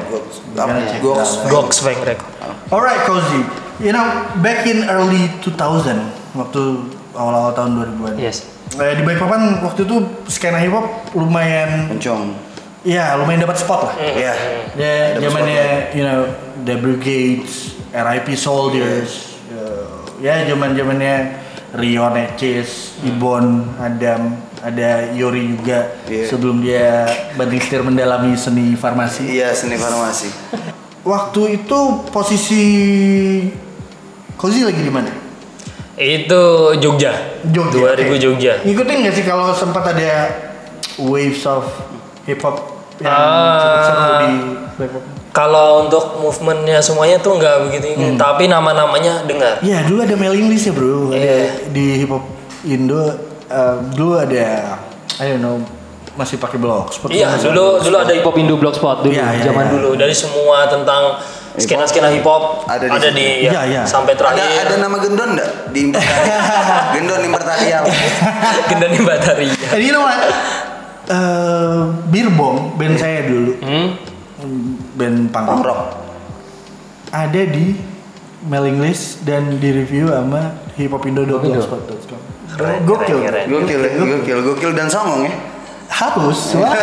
S1: Jangan cek
S2: Gox.
S1: dalam.
S3: Goxfeng Record.
S1: Alright, Cozy. You know, back in early 2000, waktu awal-awal tahun 2000-an.
S3: Iya.
S4: Yes.
S1: Eh, di Balikpapan waktu itu skena hip hop lumayan
S2: Bencong.
S1: ya lumayan dapat spot lah.
S3: Hmm.
S2: Iya.
S1: Ya,
S2: Dapat
S1: zamannya you know The Brigades, R.I.P. Soldiers,
S2: Hmm.
S1: uh, ya zaman zamannya Rio Necis, Ibon, Adam, ada Yori juga
S2: Iya.
S1: sebelum dia bergeser mendalami seni farmasi.
S2: Iya seni farmasi.
S1: Waktu itu posisi Kozi lagi di mana?
S3: Itu Jogja.
S1: Jogja.
S3: 2000 Jogja.
S1: Ngikutin nggak sih kalau sempat ada waves of hip hop yang
S3: Ah.
S1: sempat seru di Depok?
S3: Kalau untuk movementnya semuanya tuh nggak begitu ini, tapi nama-namanya dengar.
S1: Iya dulu ada mailing list ya bro. Ada
S3: Iya.
S1: di hip hop Indo eh, dulu ada I don't know masih pakai blogspot.
S3: Iya, dulu dulu ada hip hop Indo Blogspot dulu,
S1: Iya, iya,
S3: zaman
S1: iya.
S3: dulu dari semua tentang skena-skena hip hop
S2: Ada di
S1: Iya,
S2: situ.
S3: ya,
S1: iya.
S3: sampai
S2: Ada
S3: terakhir
S2: ada nama gendon enggak di Impertarial? gendon Impertarial.
S3: Gendani Batari.
S1: Jadi lu mah eh Birbong band saya dulu
S3: Iya. Hmm?
S1: band punk
S2: Punk
S1: rock
S2: rock.
S1: ada di mailing list dan di review sama hiphopindo.blogspot.com.
S3: Keren,
S1: Gokil.
S3: keren, keren.
S2: Gokil, ya, gokil, gokil dan songong ya.
S1: harus wah.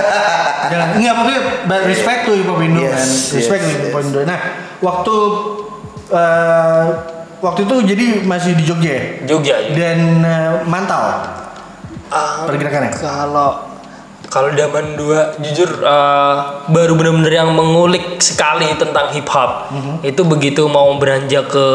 S1: jangan nggak maksudnya but respect to Ibu Indo
S2: Yes,
S1: kan respect
S2: yes,
S1: to Ibu
S2: yes.
S1: Indo nah waktu eh, waktu itu jadi masih di Jogja ya?
S3: Jogja.
S2: iya.
S3: Jogja.
S1: dan eh, mantau
S3: Ah,
S1: pergerakannya
S3: Kalau kalau zaman dua jujur uh, baru benar-benar yang mengulik sekali tentang hip hop
S1: Mhm.
S3: itu begitu mau beranjak ke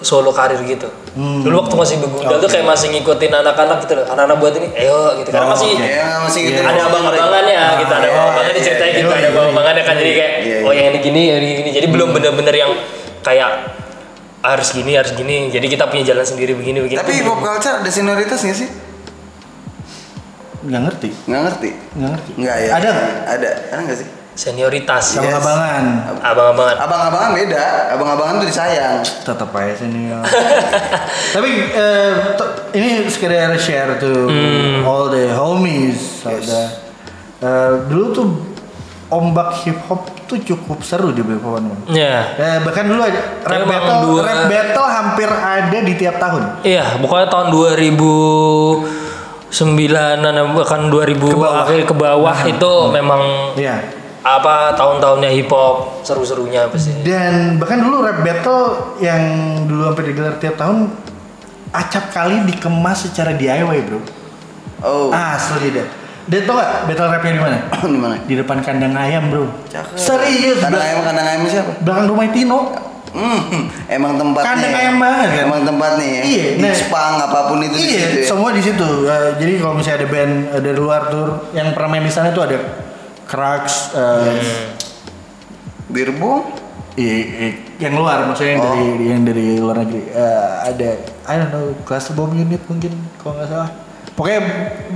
S3: solo karir gitu.
S1: Hmm.
S3: Dulu waktu masih begundal tuh kayak masih ngikutin anak-anak gitu loh. Anak-anak buat ini, ayo gitu. Karena
S1: Oh,
S3: masih
S1: oke.
S2: Ya masih gitu.
S3: ada abang-abangannya gitu, ada
S1: iya,
S3: abang-abangannya
S2: iya,
S3: diceritain
S1: iya,
S3: gitu, ada
S1: iya, Hmm.
S3: abang-abangannya kan jadi kayak
S2: Iya,
S3: oh yang ini gini, yang ini gini. Jadi belum benar-benar yang kayak harus gini, harus gini. Jadi kita punya jalan sendiri begini
S1: Iya.
S3: begini.
S2: Tapi hip hop culture ada senioritas nggak sih?
S1: nggak ngerti
S2: Nggak ngerti.
S1: nggak ngerti
S2: Nggak ya?
S1: ada nggak
S2: Ada. Ada nggak sih?
S3: senioritas.
S1: sama
S2: Yes.
S1: abangan
S3: Abang-abangan.
S2: Abang-abangan beda. Abang-abangan tuh disayang.
S1: tetap aja senior tapi eh, to- ini sekedar share to all the homies all
S2: Hmm. Yes.
S1: the- eh, dulu tuh ombak hip hop tuh cukup seru di Bepon
S3: Ya.
S1: Eh, bahkan dulu ada rap
S3: Tapi emang
S1: battle,
S3: dua-
S1: rap battle hampir ada di tiap tahun.
S3: Iya, pokoknya tahun 2009 bahkan 2000
S1: Ke bawah. Hmm.
S3: akhir ke bawah itu memang
S1: Iya.
S3: apa tahun-tahunnya hip hop seru-serunya pasti.
S1: Dan bahkan dulu rap battle yang dulu hampir digelar tiap tahun acap kali dikemas secara DIY, Bro.
S2: Oh.
S1: Asli deh. Dan tau gak battle rapnya di mana?
S2: Di mana?
S1: Di depan kandang ayam, Bro.
S2: Cakep.
S1: Serius,
S2: Kandang
S1: belak-
S2: ayam, kandang ayam siapa?
S1: belakang rumah Tino.
S2: Hmm, emang tempatnya.
S1: Kandang ayam banget kan?
S2: Emang tempatnya ya.
S1: Iya,
S2: Di
S1: nah.
S2: Jepang apapun itu di situ.
S1: Iya,
S2: ya?
S1: semua di situ. Eh, jadi kalau misalnya ada band eh, dari luar tur yang pernah main di sana tuh ada Crux, eh,
S2: Birbung.
S1: Iya, iya. yang luar maksudnya yang dari yang dari luar negeri Eh, ada I don't know kelas bomb unit mungkin kalau nggak salah pokoknya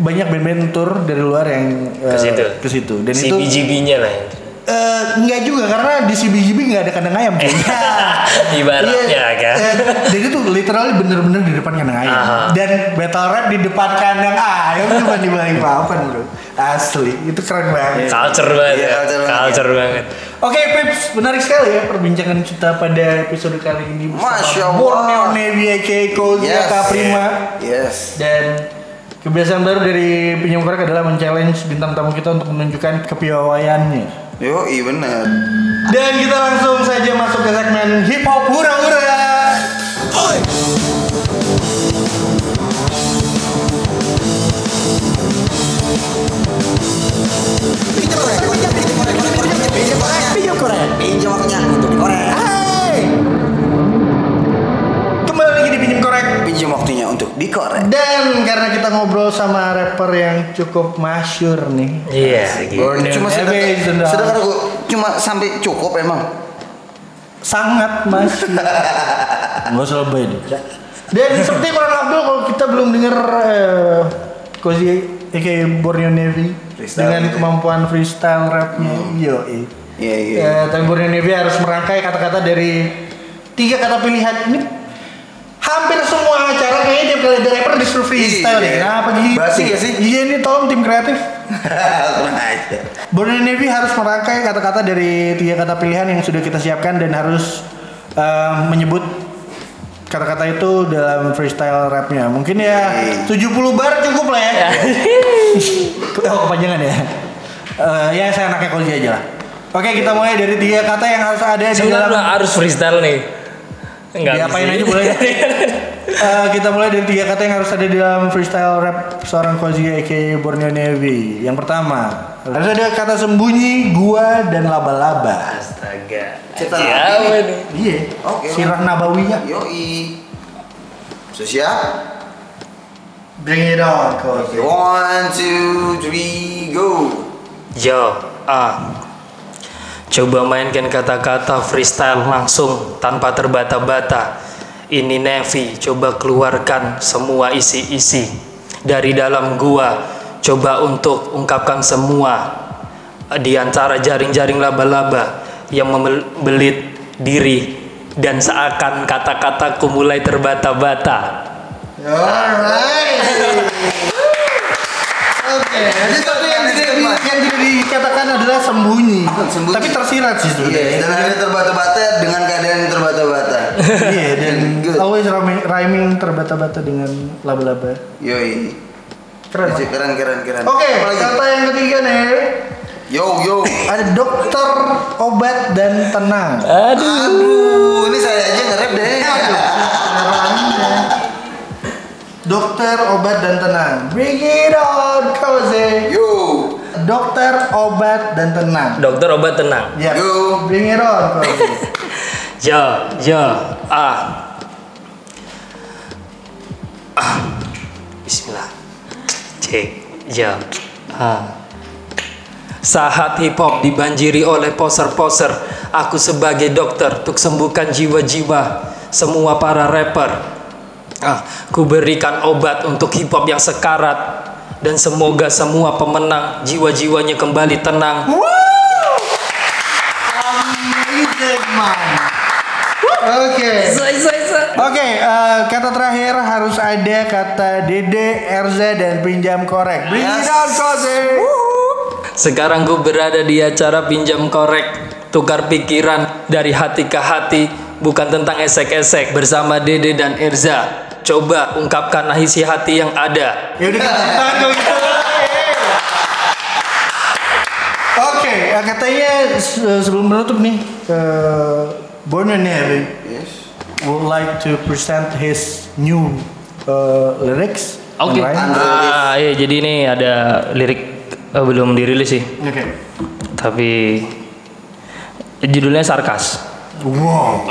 S1: banyak band-band tour dari luar yang eh,
S3: Ke situ.
S1: ke situ dan
S3: si
S1: itu
S3: BGB-nya lah.
S1: eh, nggak juga karena di CBGB nggak ada kandang ayam cuy.
S3: Ibaratnya
S1: Iya,
S3: Eh. kan.
S1: eh, jadi tuh literally bener-bener di depan kandang ayam
S3: Aha.
S1: dan battle rap di depan kandang ayam cuma di balik papan bro asli itu keren banget
S3: Culture banget.
S2: Iya,
S3: ya.
S2: culture banget.
S3: Culture banget.
S1: Oke Pips, menarik sekali ya perbincangan kita pada episode kali ini bersama
S2: Masya Allah.
S1: Borneo Navy aka Cozy Prima
S2: Yes.
S1: dan kebiasaan baru dari Pinjam Korek adalah men-challenge bintang tamu kita untuk menunjukkan kepiawaiannya
S2: Yo, iya bener.
S1: dan kita langsung saja masuk ke segmen hip hop hura-hura
S2: Pinjam korek, pinjam korek, pinjam korek,
S1: Pinjam Korek
S2: pinjam waktunya untuk dikorek.
S1: Hai kembali lagi di Pinjam Korek
S2: Pinjam waktunya untuk dikorek.
S1: dan karena kita ngobrol sama rapper yang cukup masyur nih
S3: Iya, gitu.
S1: Borneo
S2: Oh, Cuma
S1: Navy
S2: sedekah,
S1: dan-
S2: sedekah aku cuma sampai cukup emang.
S1: sangat masih nggak usah lebay deh dan seperti Kurang Abdul kalau kita belum dengar eh, Kozi aka Borneo Navy
S2: Freestyle.
S1: dengan kemampuan freestyle rapnya yo eh.
S2: Iya, iya.
S1: Eh, tapi Borneo Navy harus merangkai kata-kata dari tiga kata pilihan ini hampir semua acara kayaknya tiap kali ada rapper disuruh freestyle
S2: Iya.
S1: deh kenapa gitu
S2: Basi nggak sih?
S1: iya ini tolong tim kreatif
S2: Kurang aja.
S1: Borneo Navy harus merangkai kata-kata dari tiga kata pilihan yang sudah kita siapkan dan harus eh, menyebut kata-kata itu dalam freestyle rapnya. Mungkin ya 70 bar cukup lah ya. oh, kepanjangan ya. Eh, ya saya anaknya Koji aja lah. Oke kita mulai dari tiga kata yang harus ada di
S3: Sebenarnya
S1: dalam.
S3: udah harus freestyle nih. Enggak.
S1: Diapain aja boleh. Eh, kita mulai dari tiga kata yang harus ada di dalam freestyle rap seorang Kozi aka Borneo Navy. Yang pertama, harus ada kata sembunyi, gua, dan laba-laba.
S3: Astaga.
S2: Cetar lagi
S3: Ya, apa
S2: nih.
S3: nih?
S1: Iya,
S2: Oke.
S1: sirah nabawiyah.
S2: Yoi. Sudah siap?
S1: Bring it on, Kozi.
S2: One, two, three, go.
S3: Yo, A. Coba mainkan kata-kata freestyle langsung tanpa terbata-bata. Ini Nevi, coba keluarkan semua isi-isi dari dalam gua. Coba untuk ungkapkan semua di antara jaring-jaring laba-laba yang membelit diri dan seakan kata-kataku mulai terbata-bata.
S1: Alright. Oke, jadi satu yang tidak di, yang tidak dikatakan adalah sembunyi.
S2: Sembunyi.
S1: Tapi tersirat sih
S2: Iya,
S1: sebenarnya.
S2: dan ada terbata-bata dengan keadaan yang terbata-bata.
S1: Iya, dan
S2: Good.
S1: always rhyming, rhyming terbata-bata dengan laba-laba.
S2: Yoi.
S1: Keren. Pak.
S2: Keren, keren, keren.
S1: Oke,
S2: Apa lagi?
S1: kata yang ketiga nih
S2: Yo, yo.
S1: ada dokter, obat dan tenang.
S2: Aduh, ini saya aja nge-rap deh.
S1: Tenangnya. Dokter, obat dan tenang. Bring it on, cozy.
S2: Yo.
S1: Dokter, obat dan tenang.
S3: Dokter obat tenang.
S1: Ya,
S2: Yo.
S1: bring it on, cozy.
S3: Ya, ya, ah. ah. Bismillah. Cek, ya, ah. Saat hip hop dibanjiri oleh poser-poser, aku sebagai dokter untuk sembuhkan jiwa-jiwa semua para rapper. Ah, ku berikan obat untuk hip hop yang sekarat dan semoga semua pemenang jiwa-jiwanya kembali tenang.
S1: Amazing, man. Oke. Oke, eh, kata terakhir harus ada kata Dede, Erza, dan pinjam korek. Bring it
S2: Yes.
S1: on, cozy.
S3: Sekarang gue berada di acara pinjam korek Tukar pikiran dari hati ke hati Bukan tentang esek-esek Bersama Dede dan Erza Coba ungkapkan isi hati yang ada
S1: Yaudah, Ya kita tepuk tangan kalau gitu. Oke, eh, katanya se- sebelum menutup nih, eh, ke Borneo Navy
S2: Yes.
S1: would like to present his new uh, lyrics.
S3: Oke
S1: and rhyme.
S3: ah, iya, Jadi ini ada lirik eh, belum dirilis sih
S1: Oke.
S3: Tapi Judulnya Sarkas
S1: Wow.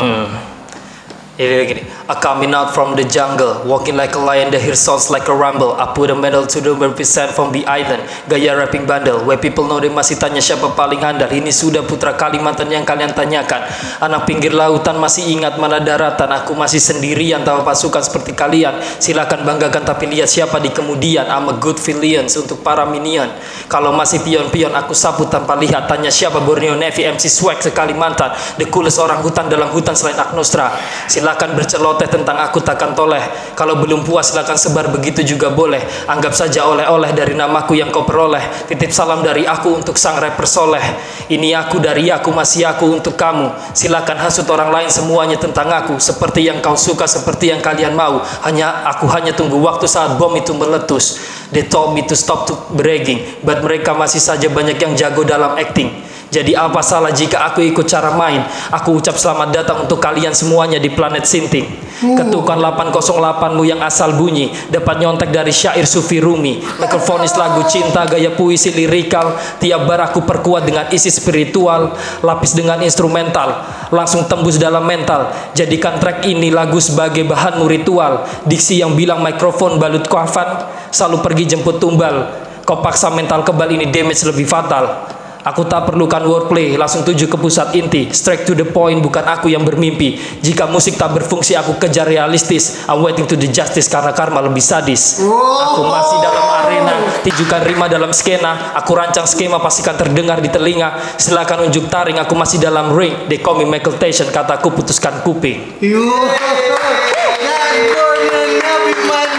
S3: Jadi gini, I coming out from the jungle, walking like a lion, the hear sounds like a rumble. I put a medal to the represent from the island, gaya rapping bundle, where people know they masih tanya siapa paling handal. Ini sudah putra Kalimantan yang kalian tanyakan. Anak pinggir lautan masih ingat mana daratan, aku masih sendirian tanpa pasukan seperti kalian. Silakan banggakan tapi lihat siapa di kemudian. I'm a good villains untuk para minion. Kalau masih pion-pion aku sapu tanpa lihat, tanya siapa Borneo Navy MC Swag sekalimantan, the coolest orang hutan dalam hutan selain Agnostra. Silakan berceloteh tentang aku takkan toleh. Kalau belum puas silakan sebar begitu juga boleh. Anggap saja oleh-oleh dari namaku yang kau peroleh. Titip salam dari aku untuk sang rapper soleh. Ini aku dari aku masih aku untuk kamu. Silakan hasut orang lain semuanya tentang aku. Seperti yang kau suka, seperti yang kalian mau. Hanya aku hanya tunggu waktu saat bom itu meletus. They told me to stop to bragging, but mereka masih saja banyak yang jago dalam acting. Jadi apa salah jika aku ikut cara main? Aku ucap selamat datang untuk kalian semuanya di planet Sinting. Ketukan 808-mu yang asal bunyi dapat nyontek dari syair Sufi Rumi. Microphonis lagu cinta gaya puisi lirikal tiap bar aku perkuat dengan isi spiritual, lapis dengan instrumental, langsung tembus dalam mental. Jadikan track ini lagu sebagai bahanmu ritual. Diksi yang bilang mikrofon balut kafan selalu pergi jemput tumbal. Kau paksa mental kebal ini damage lebih fatal. Aku tak perlukan wordplay, langsung tuju ke pusat inti. Straight to the point, bukan aku yang bermimpi. Jika musik tak berfungsi, aku kejar realistis. I'm waiting to the justice karena karma lebih sadis. Aku masih dalam arena, tijukan rima dalam skena. Aku rancang skema, pastikan terdengar di telinga. Silakan unjuk taring, aku masih dalam ring. They call me Michael Tyson, kataku putuskan kuping.
S1: You That's Gordon Everyman.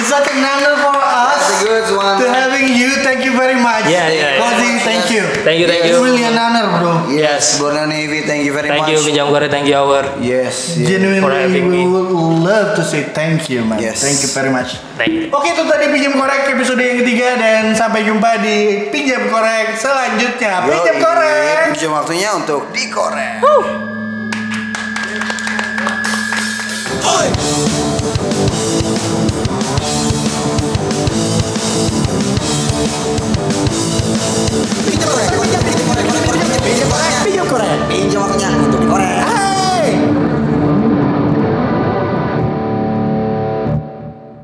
S1: It's such an honor for
S2: That's a
S1: us
S2: good one.
S1: to having you. Thank you very much.
S3: Yeah, yeah, yeah.
S1: Kozi, thank you.
S3: Thank you, thank
S1: It's
S3: you.
S1: really an honor, bro.
S2: Yes, Borneo Navy, thank you very
S3: Thank you,
S2: much.
S3: Pinjam Gore, thank you, Hour.
S2: Yes, yes.
S3: For
S1: Genuinely,
S3: having
S1: we
S3: me.
S1: would love to say thank you, man.
S2: Yes.
S1: Thank you very much.
S3: Thank you.
S1: Oke, itu tadi Pinjam Korek episode yang ketiga dan sampai jumpa di Pinjam Korek selanjutnya. Pinjam
S2: Yoi,
S1: Korek.
S2: Pinjam waktunya untuk dikorek.
S4: Oi!